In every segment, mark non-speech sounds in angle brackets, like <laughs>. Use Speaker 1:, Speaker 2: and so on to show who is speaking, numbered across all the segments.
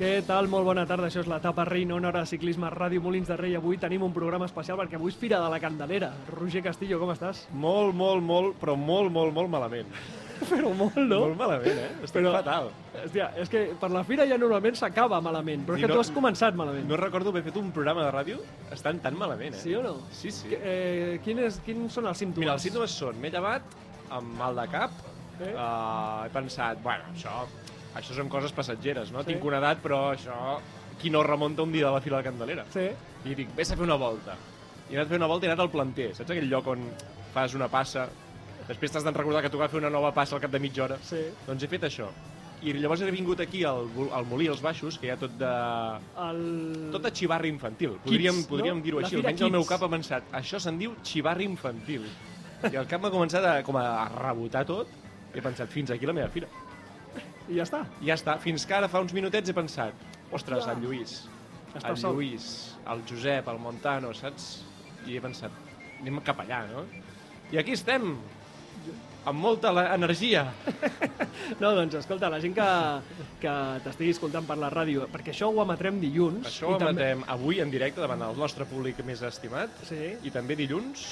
Speaker 1: Què tal? Molt bona tarda, això és la Tapa Reina, una hora de ciclisme, Ràdio Molins de Rei. Avui tenim un programa especial perquè avui és Fira de la Candelera. Roger Castillo, com
Speaker 2: <laughs>
Speaker 1: estàs?
Speaker 2: Molt, molt, molt, però molt, molt, molt malament.
Speaker 1: Però molt, no?
Speaker 2: Molt malament, eh? Estic
Speaker 1: Però-
Speaker 2: fatal.
Speaker 1: Hòstia, és que per la Fira ja normalment s'acaba malament, però és
Speaker 2: I
Speaker 1: que
Speaker 2: no-
Speaker 1: tu has començat malament.
Speaker 2: No recordo haver fet un programa de ràdio estant tan malament, eh?
Speaker 1: Sí o no?
Speaker 2: Sí, sí.
Speaker 1: Que, eh, quin és, quins són els símptomes?
Speaker 2: Mira, els símptomes són, m'he llevat amb mal de cap,
Speaker 1: Eh?
Speaker 2: eh? uh, he pensat, bueno, això, això són coses passatgeres, no?
Speaker 1: Sí.
Speaker 2: Sí. Tinc una edat, però això... Qui no remunta un dia de la fila de Candelera?
Speaker 1: Sí.
Speaker 2: I dic, vés a fer una volta. I he anat a fer una volta i he anat al planter. Saps aquell lloc on fas una passa, després t'has de recordar que tu vas fer una nova passa al cap de mitja hora?
Speaker 1: Sí.
Speaker 2: Doncs he fet això. I llavors he vingut aquí al, vol- al Molí, als Baixos, que hi ha tot de...
Speaker 1: El...
Speaker 2: Tot de xivarri infantil. Podríem,
Speaker 1: Kids, no?
Speaker 2: podríem dir-ho
Speaker 1: La
Speaker 2: així.
Speaker 1: fira
Speaker 2: Almenys el meu
Speaker 1: Kids.
Speaker 2: cap ha pensat, això se'n diu xivarri infantil. I el cap m'ha començat a, com a rebotar tot i he pensat, fins aquí la meva fira.
Speaker 1: I ja està.
Speaker 2: I ja està. Fins que ara fa uns minutets he pensat, ostres,
Speaker 1: Ja.
Speaker 2: el Lluís,
Speaker 1: Està
Speaker 2: el
Speaker 1: sol.
Speaker 2: Lluís, el Josep, el Montano, saps? I he pensat, anem cap allà, no? I aquí estem, amb molta la- energia.
Speaker 1: No, doncs escolta, la gent que, que t'estigui escoltant per la ràdio, perquè això ho emetrem dilluns.
Speaker 2: Això ho emetem avui en directe davant del nostre públic més estimat
Speaker 1: Sí,
Speaker 2: i també dilluns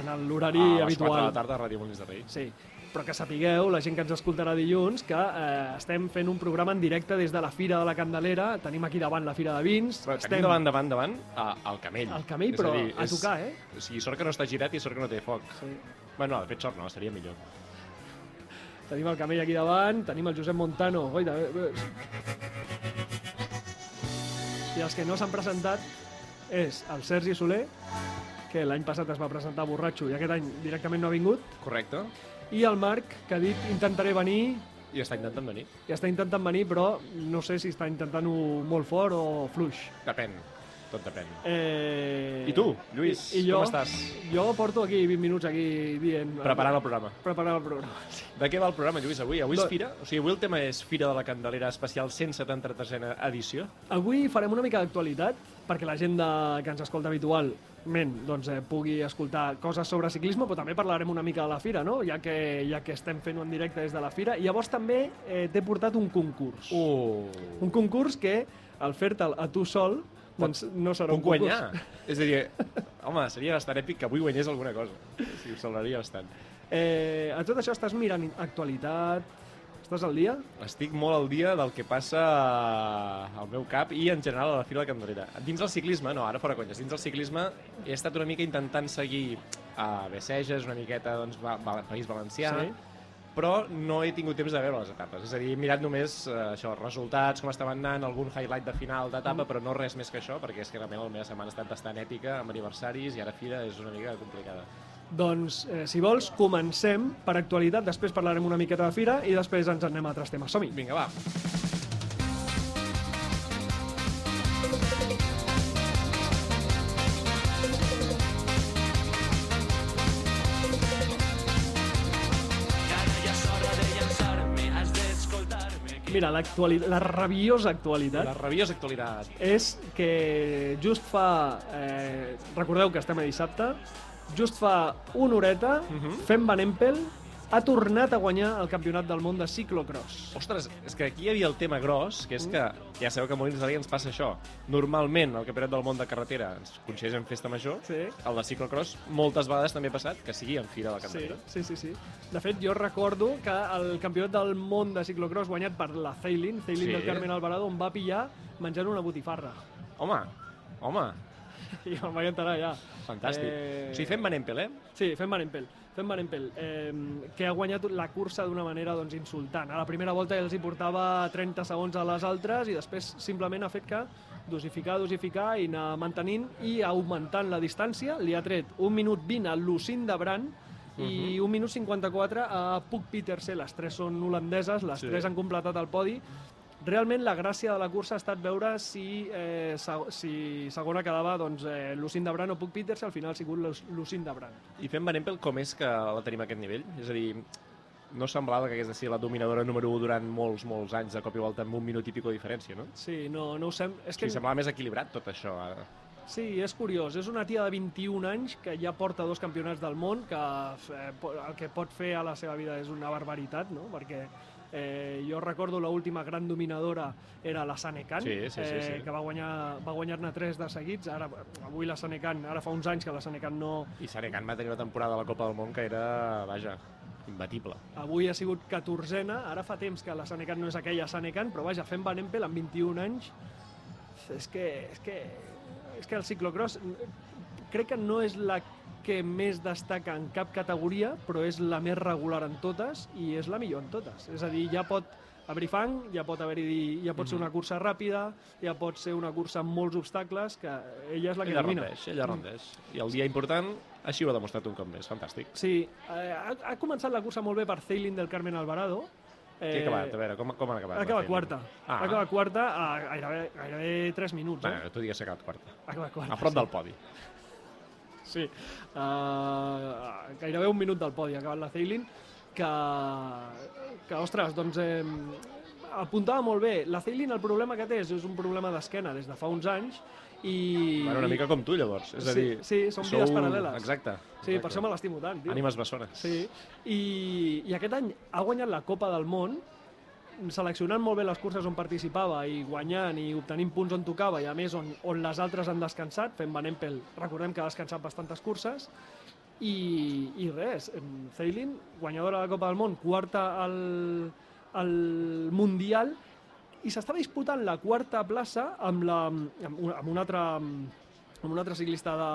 Speaker 1: en
Speaker 2: a
Speaker 1: l'horari
Speaker 2: les
Speaker 1: habitual.
Speaker 2: 4 de la tarda a Ràdio Molins de Rei.
Speaker 1: Sí, però que sapigueu, la gent que ens escoltarà dilluns, que eh, estem fent un programa en directe des de la Fira de la Candelera. Tenim aquí davant la Fira de Vins.
Speaker 2: Però
Speaker 1: estem
Speaker 2: Estem davant, davant, davant, a, al camell.
Speaker 1: al camell,
Speaker 2: És
Speaker 1: però
Speaker 2: dir,
Speaker 1: a tocar, eh?
Speaker 2: O sigui, sort que no està girat i sort que no té foc.
Speaker 1: Sí.
Speaker 2: Bueno, de fet, sort no, estaria millor.
Speaker 1: Tenim el camell aquí davant, tenim el Josep Montano. Oita, eh, eh. I els que no s'han presentat és el Sergi Soler, que l'any passat es va presentar borratxo i aquest any directament no ha vingut,
Speaker 2: Correcte.
Speaker 1: i el Marc, que ha dit intentaré venir
Speaker 2: I està intentant venir.
Speaker 1: i està intentant venir, però no sé si està intentant-ho molt fort o fluix.
Speaker 2: Depèn. Tot depèn.
Speaker 1: Eh...
Speaker 2: I tu, Lluís,
Speaker 1: I, i jo,
Speaker 2: com estàs?
Speaker 1: Jo porto aquí 20 minuts aquí dient... eh,
Speaker 2: Preparant el programa.
Speaker 1: Preparant el programa. Sí.
Speaker 2: De què va el programa, Lluís, avui? Avui
Speaker 1: Do-
Speaker 2: és Fira? O sigui, avui el tema és Fira de la Candelera Especial 173a edició.
Speaker 1: Avui farem una mica d'actualitat perquè la gent de, que ens escolta habitualment doncs, eh, pugui escoltar coses sobre ciclisme, però també parlarem una mica de la fira, no? ja, que, ja que estem fent-ho en directe des de la fira. I llavors també eh, t'he portat un concurs.
Speaker 2: Uh,
Speaker 1: Un concurs que al fer-te'l a tu sol doncs no serà
Speaker 2: Puc
Speaker 1: un concurs.
Speaker 2: guanyar. És a dir, home, seria bastant èpic que avui guanyés alguna cosa. O sigui, ho celebraria bastant.
Speaker 1: Eh, a tot això estàs mirant actualitat? Estàs al dia?
Speaker 2: Estic molt al dia del que passa al meu cap i en general a la fila de Candelera. Dins del ciclisme, no, ara fora conyes, dins del ciclisme he estat una mica intentant seguir a Besseges, una miqueta doncs, va, va, País Valencià,
Speaker 1: Sí.
Speaker 2: sí. però no he tingut temps de veure les etapes. És a dir, he mirat només eh, això, resultats, com estaven anant, algun highlight de final d'etapa, però no res més que això, perquè és que realment la meva setmana ha estat bastant èpica, amb aniversaris, i ara fira és una mica complicada.
Speaker 1: Doncs, eh, si vols, comencem per actualitat, després parlarem una miqueta de fira i després ens anem a altres temes. Som-hi!
Speaker 2: Vinga, va.
Speaker 1: Mira, l'actuali- la rabiosa actualitat
Speaker 2: La rabiosa actualitat.
Speaker 1: és que just fa... Eh, recordeu que estem a dissabte, just fa una horeta, uh
Speaker 2: Mhm.
Speaker 1: -huh. fent Van Empel, ha tornat a guanyar el campionat del món de ciclocross.
Speaker 2: Ostres, és que aquí hi havia el tema gros,
Speaker 1: Mm.
Speaker 2: que és que ja sabeu que a Molins de Rei ens passa això. Normalment, el Campionat del Món de Carretera ens coincideix en festa major,
Speaker 1: Sí.
Speaker 2: el de ciclocross moltes vegades també ha passat que sigui en Fira de la
Speaker 1: Sí,
Speaker 2: Candelera.
Speaker 1: sí, sí, sí. De fet, jo recordo que el campionat del món de ciclocross guanyat per la Ceylin, Ceylin
Speaker 2: Sí.
Speaker 1: del Carmen Alvarado, on va pillar menjant una botifarra.
Speaker 2: Home, home,
Speaker 1: <laughs> I em vaig enterar ja.
Speaker 2: fantàstic.
Speaker 1: Eh,
Speaker 2: Eh... O sigui, fem Van Empel, eh?
Speaker 1: Sí, fem Manempel. Fem Manempel, eh, que ha guanyat la cursa d'una manera doncs, insultant. A la primera volta els hi portava 30 segons a les altres i després simplement ha fet que dosificar, dosificar i anar mantenint i augmentant la distància. Li ha tret 1 minut 20 a Lucinda Brand i 1 minut 54 a Puck Petersen. Les tres són holandeses, les
Speaker 2: Sí.
Speaker 1: tres han completat el podi. Realment la gràcia de la cursa ha estat veure si, eh, seg si segona quedava doncs, eh, Lucinda Brand o Puck Petersen, al final ha sigut Lus- Lucinda Brand.
Speaker 2: I fem Van Empel com és que la tenim a aquest nivell? És a dir, no semblava que hagués de ser la dominadora número 1 durant molts, molts anys, de cop i volta amb un minut i pico de diferència, no?
Speaker 1: Sí, no, no ho sem... És
Speaker 2: O
Speaker 1: que...
Speaker 2: sigui, semblava més equilibrat tot això. ara.
Speaker 1: Sí, és curiós. És una tia de 21 anys que ja porta dos campionats del món, que eh, po- el que pot fer a la seva vida és una barbaritat, no? Perquè Eh, jo recordo la última gran dominadora era la Sanecan,
Speaker 2: Sí, sí, sí,
Speaker 1: eh,
Speaker 2: sí.
Speaker 1: que va guanyar va guanyar-ne tres de seguits. Ara, avui la Sanecan, ara fa uns anys que la Sanecan no...
Speaker 2: I Sanecan va tenir una temporada a la Copa del Món que era, vaja, imbatible.
Speaker 1: Avui ha sigut 14a, ara fa temps que la Sanecan no és aquella Sanecan, però vaja, fent Van Empel amb 21 anys, és que, és que, és que el ciclocross eh, crec que no és la que més destaca en cap categoria, però és la més regular en totes i és la millor en totes. És a dir, ja pot haver-hi fang, ja pot haver-hi ja pot
Speaker 2: Mhm.
Speaker 1: ser una cursa ràpida, ja pot ser una cursa amb molts obstacles, que ella és la que
Speaker 2: Ella
Speaker 1: domina.
Speaker 2: rendeix, ella rendeix. I el dia important així ho ha demostrat un cop més, fantàstic.
Speaker 1: Sí, eh, ha, ha començat la cursa molt bé per Ceilin del Carmen Alvarado.
Speaker 2: Què ha acabat? A veure, com, com han acabat?
Speaker 1: Acaba
Speaker 2: la
Speaker 1: Eh, quarta.
Speaker 2: Ah.
Speaker 1: Ah. Acaba quarta a gairebé, gairebé 3 minuts, eh?
Speaker 2: Bueno, tu digues que ha acabat quarta.
Speaker 1: Acaba quarta.
Speaker 2: A prop del podi.
Speaker 1: Sí. Uh, gairebé un minut del podi ha acabat la Ceylin, que, que ostres, doncs eh, apuntava molt bé. La Ceylin el problema que té és, és un problema d'esquena des de fa uns anys i...
Speaker 2: Bueno, una mica com tu, llavors. És a
Speaker 1: Sí,
Speaker 2: dir,
Speaker 1: sí, són
Speaker 2: sou-
Speaker 1: vides paral·leles.
Speaker 2: Exacte.
Speaker 1: Sí, per
Speaker 2: exacte.
Speaker 1: això me l'estimo tant, tio.
Speaker 2: Ànimes bessones.
Speaker 1: Sí, I, i aquest any ha guanyat la Copa del Món seleccionant molt bé les curses on participava i guanyant i obtenint punts on tocava i a més on, on les altres han descansat fent Van Empel, recordem que ha descansat bastantes curses i, i res, em, Zeylin guanyadora de la Copa del Món, quarta al, al Mundial i s'estava disputant la quarta plaça amb, la, amb, una, amb una altra amb una altra ciclista de,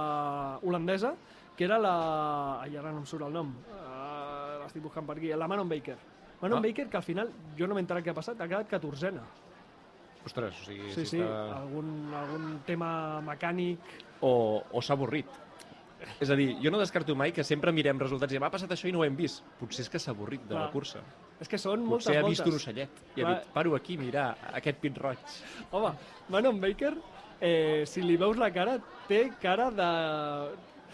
Speaker 1: holandesa que era la... Ai, ara no em surt el nom. Uh, L'estic buscant per aquí. La Manon Baker. Manon
Speaker 2: Ah.
Speaker 1: Baker, que al final, jo no m'he enterat què ha passat, ha quedat catorzena.
Speaker 2: Ostres, o sigui...
Speaker 1: Sí, sí, sí.
Speaker 2: Està...
Speaker 1: Algun, algun tema mecànic...
Speaker 2: O, o s'ha avorrit. És a dir, jo no descarto mai que sempre mirem resultats i m'ha passat això i no ho hem vist. Potser és que s'ha avorrit de la
Speaker 1: Clar.
Speaker 2: cursa.
Speaker 1: És que són moltes
Speaker 2: Potser ha
Speaker 1: voltes.
Speaker 2: vist un ocellet i ha
Speaker 1: Clar.
Speaker 2: dit, paro aquí, mira, aquest pit roig.
Speaker 1: Home, Manon Baker, eh, si li veus la cara, té cara de...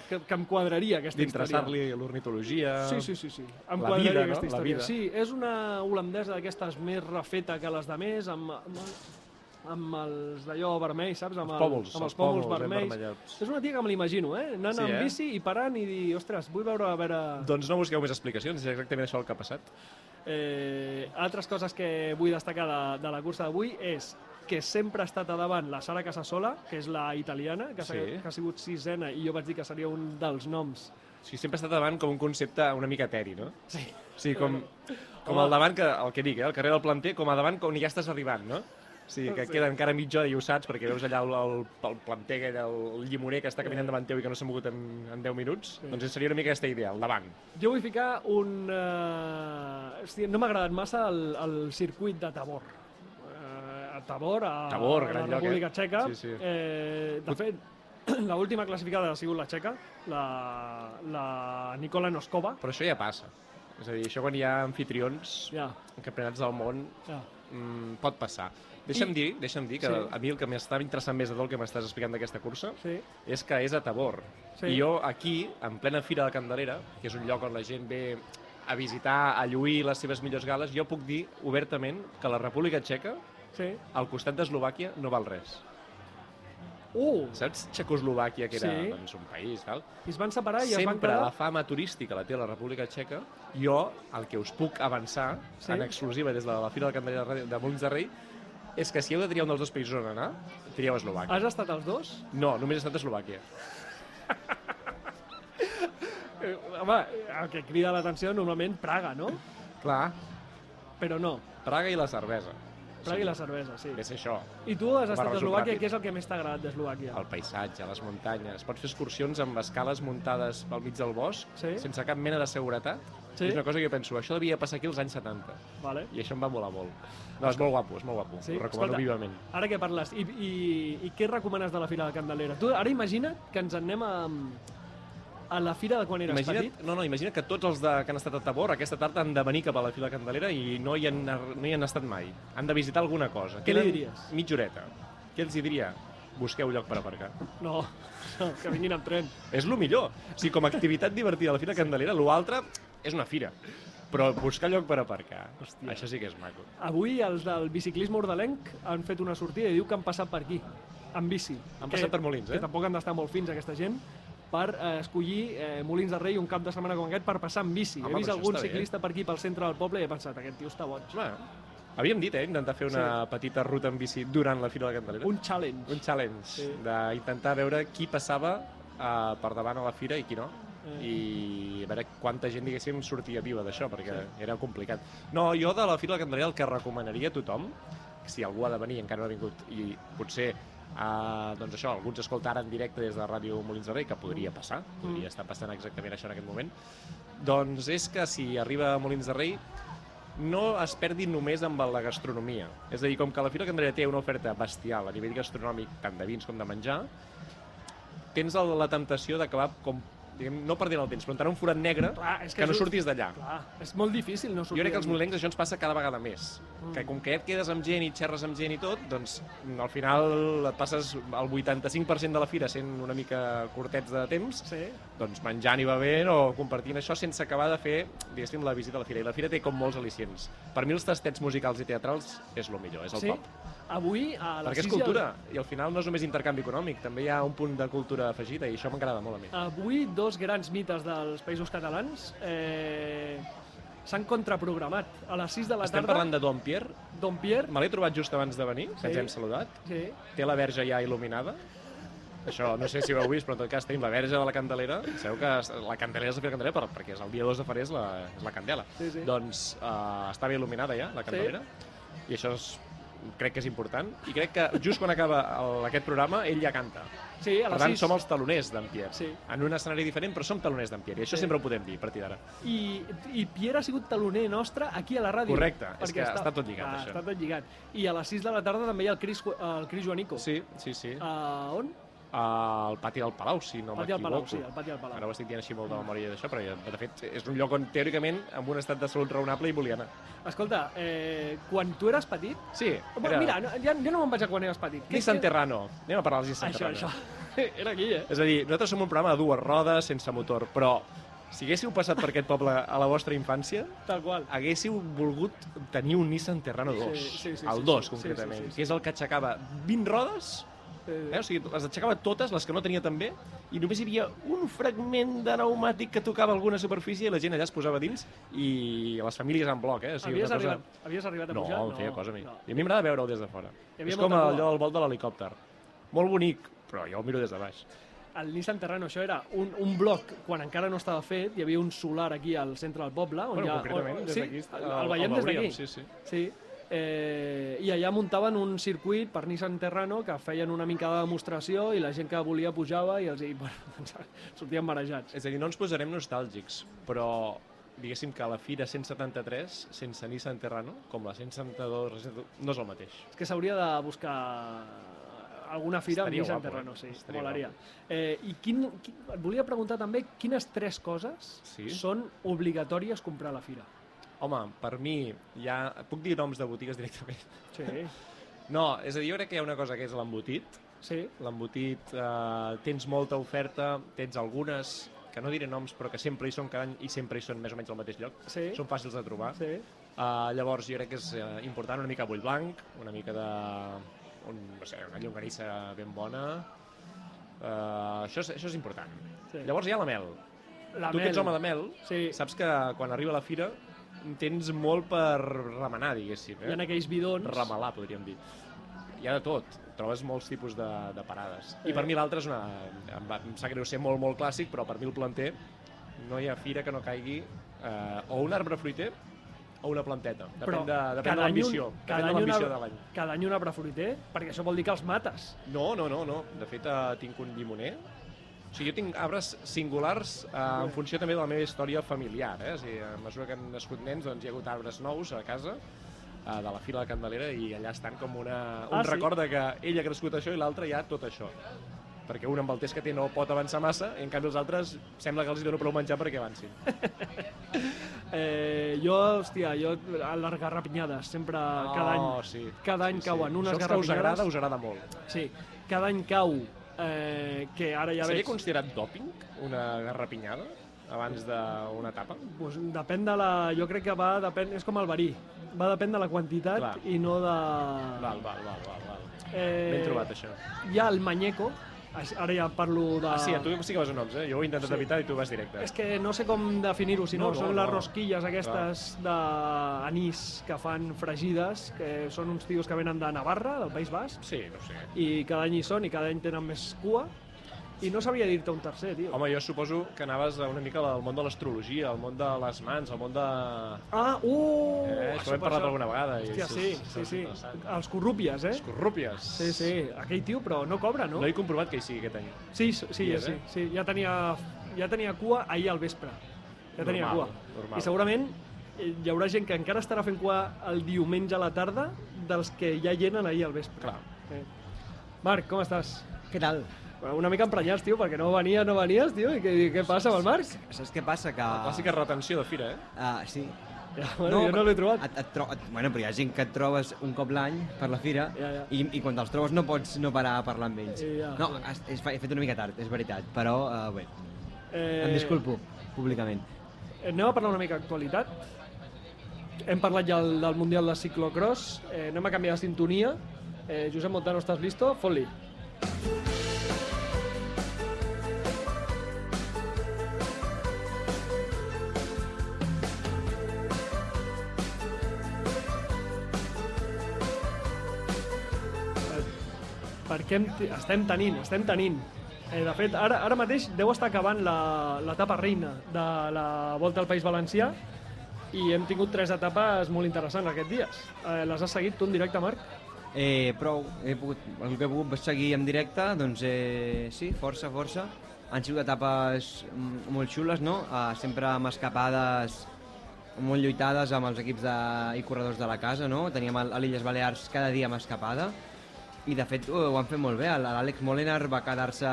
Speaker 1: Que, que em quadraria aquesta història.
Speaker 2: D'interessar-li l'ornitologia...
Speaker 1: Sí, sí, sí, sí. Em
Speaker 2: La
Speaker 1: quadraria
Speaker 2: vida, no?
Speaker 1: aquesta
Speaker 2: La
Speaker 1: història.
Speaker 2: vida.
Speaker 1: Sí, és una holandesa d'aquestes més refeta que les de més, amb, amb, amb els d'allò vermell, saps? Amb
Speaker 2: Els pòvols,
Speaker 1: amb els pòvols,
Speaker 2: els pòvols, ben
Speaker 1: vermells.
Speaker 2: vermellots.
Speaker 1: És una tia que me l'imagino, eh? Anant
Speaker 2: Sí,
Speaker 1: amb
Speaker 2: eh?
Speaker 1: bici i parant i dir, ostres, vull veure a veure...
Speaker 2: Doncs no busqueu més explicacions, és exactament això el que ha passat.
Speaker 1: Eh, altres coses que vull destacar de, de la cursa d'avui és que sempre ha estat a davant la Sara Casasola, que és la italiana, que, s'ha-
Speaker 2: Sí.
Speaker 1: que ha sigut sisena i jo vaig dir que seria un dels noms
Speaker 2: O sigui, sempre ha estat davant com un concepte una mica eteri, no?
Speaker 1: Sí.
Speaker 2: O sigui, com, com al davant, que, el que dic, eh, el carrer del planter, com a davant com on ja estàs arribant, no? O sigui, que
Speaker 1: Sí.
Speaker 2: queda encara mitja hora i ho saps, perquè veus allà el, el, el planter, aquell, el llimoner que està caminant davant teu i que no s'ha mogut en, en 10 minuts. Doncs seria una mica aquesta idea, al davant.
Speaker 1: Jo vull ficar un... Uh... Hòstia, no m'ha agradat massa el, el circuit de Tabor. Uh, a Tabor, a, a
Speaker 2: Tabor,
Speaker 1: la
Speaker 2: gran lloc,
Speaker 1: República
Speaker 2: eh?
Speaker 1: Txeca.
Speaker 2: Sí, sí.
Speaker 1: Eh, de fet, <clears throat> l'última classificada ha sigut la Txeca, la, la Nicola Noskova.
Speaker 2: Però això ja passa. És a dir, això quan hi ha anfitrions,
Speaker 1: Ja,
Speaker 2: en campionats del món,
Speaker 1: ja.
Speaker 2: mm, pot passar. Deixa'm dir, deixa'm dir que
Speaker 1: Sí.
Speaker 2: a mi el que m'estava interessant més de tot el que m'estàs explicant d'aquesta cursa
Speaker 1: Sí,
Speaker 2: és que és a Tabor.
Speaker 1: Sí.
Speaker 2: I jo aquí, en plena Fira de la Candelera, que és un lloc on la gent ve a visitar, a lluir les seves millors gales, jo puc dir obertament que la República Txeca,
Speaker 1: sí.
Speaker 2: al costat d'Eslovàquia, no val res.
Speaker 1: Uh!
Speaker 2: Saps Txecoslovàquia, que era
Speaker 1: Sí.
Speaker 2: doncs, un país, tal?
Speaker 1: I es van separar i es van
Speaker 2: Sempre
Speaker 1: quedar...
Speaker 2: la fama turística la té la República Txeca. Jo, el que us puc avançar,
Speaker 1: Sí.
Speaker 2: sí. en exclusiva des de la Fira de la Candelera de Ràdio- de Molins de Rei, és que si heu de triar un dels dos països on anar, trieu Eslovàquia.
Speaker 1: Has estat els dos?
Speaker 2: No, només he estat a Eslovàquia.
Speaker 1: Eh, home, el que crida l'atenció normalment Praga, no?
Speaker 2: Clar,
Speaker 1: Però no,
Speaker 2: Praga i la cervesa.
Speaker 1: Praga i la cervesa, sí.
Speaker 2: És això,
Speaker 1: I tu has estat a
Speaker 2: Barres-ho
Speaker 1: Eslovàquia,
Speaker 2: ràpid.
Speaker 1: què és el que més t'ha agradat d'Eslovàquia?
Speaker 2: el paisatge, les muntanyes. Pots fer excursions amb escales muntades pel mig del bosc,
Speaker 1: Sí.
Speaker 2: sense cap mena de seguretat.
Speaker 1: Sí.
Speaker 2: És una cosa que jo penso, això devia passar aquí als anys 70.
Speaker 1: Vale.
Speaker 2: I això em va molar molt. No, és molt guapo, és molt guapo.
Speaker 1: Sí?
Speaker 2: Ho recomano
Speaker 1: Escolta,
Speaker 2: vivament.
Speaker 1: Ara que parles, i, i, i què recomanes de la Fira de Candelera? Tu ara imagina't que ens en anem a, a la Fira de quan eres
Speaker 2: Imagina't, no, no, imagina't que tots els de, que han estat a Tabor aquesta tarda han de venir cap a la Fila Candelera i no hi han, ar- no hi han estat mai. Han de visitar alguna cosa.
Speaker 1: Què li
Speaker 2: Queden
Speaker 1: diries?
Speaker 2: Mitja horeta. Què els hi diria? Busqueu lloc per aparcar.
Speaker 1: petit? No, <laughs> no, que vinguin amb tren.
Speaker 2: És el millor. O sigui, com a activitat divertida a la Fira Candelera, l'altre és una fira. Però buscar lloc per aparcar,
Speaker 1: Hòstia.
Speaker 2: Hòstia. això sí que és maco.
Speaker 1: Avui els del biciclisme ordalenc han fet una sortida i diu que han passat per aquí, amb bici.
Speaker 2: Han passat per Molins, eh?
Speaker 1: Que tampoc han d'estar molt fins, aquesta gent. per eh, escollir eh, Molins de Rei un cap de setmana com aquest per passar amb bici.
Speaker 2: Home,
Speaker 1: He vist
Speaker 2: però això
Speaker 1: algun
Speaker 2: està bé. eh?
Speaker 1: ciclista per aquí, pel centre del poble, i he pensat, aquest tio està boig.
Speaker 2: Home, havíem dit, eh, intentar fer una petita ruta en bici durant la Fira de la Candelera.
Speaker 1: Un challenge.
Speaker 2: un challenge
Speaker 1: Sí.
Speaker 2: d'intentar veure qui passava uh, per davant a la fira i qui no
Speaker 1: Eh.
Speaker 2: i a veure quanta gent, diguéssim, sortia viva d'això, perquè era complicat. No, jo de la Fira de la Candelera el que recomanaria a tothom, si algú ha de venir i encara no ha vingut, i potser, eh, doncs això, alguns escolta ara en directe des de Ràdio Molins de Rei, que podria passar, podria estar passant exactament això en aquest moment, doncs és que si arriba a Molins de Rei no es perdi només amb la gastronomia. És a dir, com que la Fira Candelera té una oferta bestial a nivell gastronòmic, tant de vins com de menjar, tens el- la temptació d'acabar com diguem, no perdent el temps, però entrar en un forat negre
Speaker 1: Clar, és
Speaker 2: que,
Speaker 1: que
Speaker 2: no
Speaker 1: és un-
Speaker 2: surtis d'allà.
Speaker 1: Clar, és molt difícil no
Speaker 2: Jo
Speaker 1: sortir.
Speaker 2: crec que als
Speaker 1: d'aquí.
Speaker 2: molencs això ens passa cada vegada més.
Speaker 1: Mm.
Speaker 2: Que com que ja et quedes amb gent i xerres amb gent i tot, doncs mm, al final et passes el 85% de la fira sent una mica curtets de temps,
Speaker 1: Sí.
Speaker 2: doncs menjant i bevent o compartint això sense acabar de fer, diguéssim, la visita a la fira. I la fira té com molts al·licients. Per mi els tastets musicals i teatrals és el millor, és el
Speaker 1: sí.
Speaker 2: top.
Speaker 1: Avui a les
Speaker 2: Perquè és
Speaker 1: 6 i al-
Speaker 2: cultura, i al final no és només intercanvi econòmic, també hi ha un punt de cultura afegida i això m'agrada molt a mi.
Speaker 1: Avui dos grans mites dels països catalans eh, s'han contraprogramat. A les 6 de la
Speaker 2: Estem
Speaker 1: tarda,
Speaker 2: parlant de Don Pierre,
Speaker 1: Don Pierre,
Speaker 2: me l'he trobat just abans de venir, que
Speaker 1: Sí.
Speaker 2: ens hem saludat,
Speaker 1: sí,
Speaker 2: té la verge ja il·luminada, això no sé si ho heu vist, però en tot cas tenim la verge de la Candelera. Sabeu que es- la Candelera és la Fira Candelera per- perquè és el dia 2 de febrer és la, és la Candela.
Speaker 1: Sí, sí.
Speaker 2: Doncs uh, estava il·luminada ja, la Candelera, i això és, crec que és important. I crec que just quan acaba el, aquest programa, ell ja canta.
Speaker 1: sí, a
Speaker 2: Per
Speaker 1: les
Speaker 2: tant,
Speaker 1: 6.
Speaker 2: som els taloners d'en Pierre.
Speaker 1: Sí.
Speaker 2: En un escenari diferent, però som taloners d'en Pierre. I això
Speaker 1: Sí.
Speaker 2: sempre ho podem dir a partir d'ara.
Speaker 1: I, I Pierre ha sigut teloner nostre aquí a la ràdio.
Speaker 2: Correcte, és
Speaker 1: Perquè
Speaker 2: que està tot lligat,
Speaker 1: ah,
Speaker 2: això.
Speaker 1: Està tot lligat. I a les 6 de la tarda també hi ha el Cris, Ju- el Cris Joanico.
Speaker 2: Sí, sí, sí.
Speaker 1: A on?
Speaker 2: Al pati del Palau, si no
Speaker 1: Pati al Palau,
Speaker 2: m'equivoco.
Speaker 1: sí, al Pati del Palau.
Speaker 2: Ara ho estic dient així molt de memòria d'això, però ja, de fet és un lloc on teòricament amb un estat de salut raonable i volia anar.
Speaker 1: Escolta, eh, quan tu eres petit...
Speaker 2: Sí,
Speaker 1: Home, Mira, no, ja, ja no me'n vaig a quan eres petit.
Speaker 2: Ni Santerrano. Anem a parlar dels Nissan
Speaker 1: Això,
Speaker 2: Terrano.
Speaker 1: això. <laughs> Era aquí, eh?
Speaker 2: És a dir, nosaltres som un programa de dues rodes, sense motor, però si haguéssiu passat per aquest poble a la vostra infància,
Speaker 1: Tal qual.
Speaker 2: haguéssiu volgut tenir un Nissan Terrano 2,
Speaker 1: Sí, sí, sí,
Speaker 2: el
Speaker 1: sí,
Speaker 2: 2
Speaker 1: sí,
Speaker 2: concretament,
Speaker 1: sí, sí, sí.
Speaker 2: que és el que aixecava 20 rodes, eh? o sigui, les aixecava totes, les que no tenia també, i només hi havia un fragment de pneumàtic que tocava alguna superfície i la gent allà es posava dins i les famílies en bloc, eh? O sigui,
Speaker 1: havies,
Speaker 2: una cosa...
Speaker 1: arribat, havies arribat a
Speaker 2: No,
Speaker 1: pujar?
Speaker 2: em feia cosa a mi.
Speaker 1: no.
Speaker 2: I a mi m'agrada veure'l des de fora.
Speaker 1: Hi havia
Speaker 2: És com
Speaker 1: molta por.
Speaker 2: allò del vol de l'helicòpter. Molt bonic, però jo el miro des de baix.
Speaker 1: El Nissan Terrano, això era un, un bloc, quan encara no estava fet, hi havia un solar aquí al centre del poble. On
Speaker 2: Bueno,
Speaker 1: hi ha,
Speaker 2: concretament,
Speaker 1: on,
Speaker 2: des
Speaker 1: sí,
Speaker 2: d'aquí
Speaker 1: el, el veiem des
Speaker 2: veuríem,
Speaker 1: d'aquí.
Speaker 2: Sí, sí.
Speaker 1: Sí. Eh, I allà muntaven un circuit per Nissan Terrano que feien una mica de demostració i la gent que volia pujava i els hi, <laughs> bueno, sortien marejats.
Speaker 2: És a dir, no ens posarem nostàlgics, però diguéssim que la Fira 173, sense Nissan Terrano, com la 172, no és el mateix.
Speaker 1: És que s'hauria de buscar alguna fira
Speaker 2: Estaria
Speaker 1: amb Nissan
Speaker 2: guapo, eh?
Speaker 1: Terrano, sí,
Speaker 2: Estaria
Speaker 1: molaria. Eh, I quin, quin, et volia preguntar també quines tres coses
Speaker 2: Sí.
Speaker 1: són obligatòries comprar a la fira.
Speaker 2: Home, per mi, ja... Puc dir noms de botigues directament? <laughs>
Speaker 1: Sí,
Speaker 2: No, és a dir, jo crec que hi ha una cosa que és l'embotit.
Speaker 1: sí.
Speaker 2: L'embotit, eh, tens molta oferta, tens algunes que no diré noms, però que sempre hi són cada any i sempre hi són més o menys al mateix lloc.
Speaker 1: Sí.
Speaker 2: Són fàcils de trobar.
Speaker 1: Sí.
Speaker 2: Uh, llavors, jo crec que és uh, important una mica bull blanc, una mica de... Un, no sé, una llonganissa ben bona. Uh, això, és, això és important.
Speaker 1: Sí.
Speaker 2: Llavors hi ha la mel.
Speaker 1: La
Speaker 2: tu que ets
Speaker 1: mel.
Speaker 2: home de mel,
Speaker 1: Sí.
Speaker 2: saps que quan arriba la fira tens molt per remenar, diguéssim.
Speaker 1: Hi
Speaker 2: Eh?
Speaker 1: ha aquells bidons.
Speaker 2: Remelar, podríem dir. Hi ha de tot. Trobes molts tipus de, de parades.
Speaker 1: Sí.
Speaker 2: I per mi l'altre és una... Em, va, em sap greu ser molt, molt clàssic, però per mi el planter no hi ha fira que no caigui eh, o un arbre fruiter o una planteta. Depèn
Speaker 1: Però
Speaker 2: de, depèn de
Speaker 1: any un-
Speaker 2: l'ambició. Depèn de
Speaker 1: any un
Speaker 2: l'ambició
Speaker 1: arbre-
Speaker 2: de l'any.
Speaker 1: Cada any un arbre fruiter, perquè això vol dir que els
Speaker 2: <laughs>
Speaker 1: mates.
Speaker 2: No, no, no, no. De fet, eh, tinc un llimoner. O sigui, jo tinc arbres singulars eh, en funció també de la meva història familiar. Eh? O sigui, a mesura que han nascut nens, doncs hi ha hagut arbres nous a casa eh, de la fila de Candelera i allà estan com una, un
Speaker 1: Ah, sí?
Speaker 2: record de que ell ha crescut això i l'altre ja tot això. Perquè un amb el temps que té no pot avançar massa i en canvi els altres sembla que els hi dono prou menjar perquè avancin.
Speaker 1: Eh, jo, hòstia, jo a les garrapinyades, sempre, cada
Speaker 2: Oh,
Speaker 1: any,
Speaker 2: sí.
Speaker 1: cada any cauen unes
Speaker 2: Això els que us agrada,
Speaker 1: garrapinyades.
Speaker 2: us agrada molt.
Speaker 1: Sí, cada any cau, eh, que ara ja
Speaker 2: Seria
Speaker 1: veig...
Speaker 2: considerat dòping una garrapinyada abans d'una etapa?
Speaker 1: Pues, depèn de la... Jo crec que va... Depèn, és com el verí. Va depèn de la quantitat
Speaker 2: Clar.
Speaker 1: i no de...
Speaker 2: Val, val, val, val, val.
Speaker 1: Eh,
Speaker 2: Ben trobat, això.
Speaker 1: Hi ha el manyeco, Aix- Ara ja parlo de...
Speaker 2: Ah, sí, a tu sí que vas a noms, eh? Jo ho he intentat
Speaker 1: Sí.
Speaker 2: evitar i tu vas directe.
Speaker 1: És que no sé com definir-ho, si no,
Speaker 2: No, no,
Speaker 1: són les
Speaker 2: no.
Speaker 1: rosquilles aquestes d'anís que fan fregides, que són uns tios que venen de Navarra, del País Basc,
Speaker 2: Sí, no sé.
Speaker 1: i cada any hi són i cada any tenen més cua, i no sabia dir-te un tercer, tio.
Speaker 2: Home, jo suposo que anaves una mica al món de l'astrologia, al món de les mans, al món de...
Speaker 1: Ah, uh!
Speaker 2: Eh, això ho hem
Speaker 1: per
Speaker 2: parlat alguna vegada. i
Speaker 1: Hòstia,
Speaker 2: això
Speaker 1: sí,
Speaker 2: és- això
Speaker 1: sí,
Speaker 2: és
Speaker 1: sí.
Speaker 2: interessant.
Speaker 1: Els corrúpies, eh?
Speaker 2: Les corrúpies.
Speaker 1: Sí, sí, aquell tio, però no cobra, no?
Speaker 2: No he comprovat que hi sigui aquest any.
Speaker 1: Sí, sí, sí,
Speaker 2: Dies,
Speaker 1: sí,
Speaker 2: eh?
Speaker 1: sí. Ja tenia, ja tenia cua ahir al vespre. Ja tenia
Speaker 2: Normal,
Speaker 1: cua.
Speaker 2: normal.
Speaker 1: I segurament eh, hi haurà gent que encara estarà fent cua el diumenge a la tarda dels que ja llenen ahir al vespre.
Speaker 2: Clar.
Speaker 1: Eh. Marc, com estàs?
Speaker 3: Què tal?
Speaker 1: Bueno, Una mica emprenyats, tio, perquè no venies, no venies, tio, i què, què passa amb el Marc?
Speaker 3: Saps què passa? Que...
Speaker 2: La clàssica retenció de fira, eh?
Speaker 3: Ah, sí.
Speaker 1: Ah, Ja, bueno, no, jo no l'he trobat.
Speaker 3: Et, et tro... et... Bueno, però hi ha gent que et trobes un cop l'any per la fira
Speaker 1: Ja, ja.
Speaker 3: I, i quan te'ls trobes no pots no parar a parlar amb ells.
Speaker 1: Sí, ja.
Speaker 3: no, has, has, fa- he fet una mica tard, és veritat, però uh, bé,
Speaker 1: Eh,
Speaker 3: em disculpo públicament.
Speaker 1: Anem a parlar una mica d'actualitat. Hem parlat ja del, del Mundial de Ciclocross, eh, anem a canviar de sintonia. Eh, Josep Montano, estàs listo? Fot-li. perquè hem, estem tenint, estem tenint. Eh, de fet, ara, ara mateix deu estar acabant la- l'etapa reina de la Volta al País Valencià i hem tingut tres etapes molt interessants aquests dies. Eh, les has seguit tu en directe, Marc?
Speaker 3: Eh, prou, he pogut, el que he pogut seguir en directe, doncs eh, sí, força, força. Han sigut etapes mm, molt xules, no? Eh, sempre amb escapades molt lluitades amb els equips de, i corredors de la casa, no? Teníem el- a l'Illes Balears cada dia amb escapada i de fet ho, ho han fet molt bé. L'Àlex Molinar va quedar-se,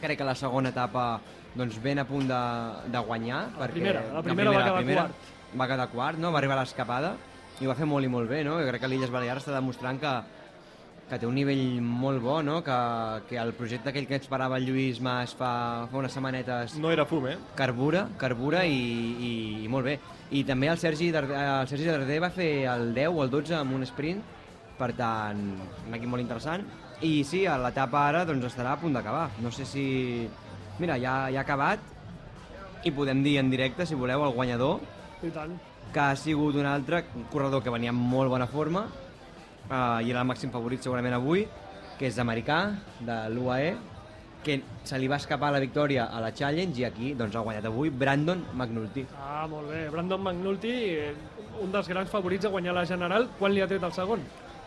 Speaker 3: crec que a la segona etapa, doncs ben a punt de, de guanyar. perquè-
Speaker 1: primera, la primera va quedar quart.
Speaker 3: va quedar quart, no? va arribar a l'escapada i ho va fer molt i molt bé, no? Jo crec que l'Illes Balears està demostrant que, que té un nivell molt bo, no? Que, que el projecte aquell que ens parava el Lluís Mas fa, fa unes setmanetes
Speaker 2: No era fum, eh?
Speaker 3: carbura, carbura i, i, i molt bé. I també el Sergi, Darder, el Sergi Darder va fer el 10 o el 12 amb un sprint, per tant, un equip molt interessant. I sí, a l'etapa ara doncs, estarà a punt d'acabar. No sé si... Mira, ja, ja ha acabat i podem dir en directe, si voleu, el guanyador,
Speaker 1: I tant.
Speaker 3: que ha sigut un altre corredor que venia en molt bona forma eh, i era el màxim favorit segurament avui, que és americà, de l'UAE, que se li va escapar la victòria a la Challenge i aquí doncs, ha guanyat avui Brandon McNulty.
Speaker 1: Ah, molt bé. Brandon McNulty, eh, un dels grans favorits a guanyar la General. Quan li ha tret el segon?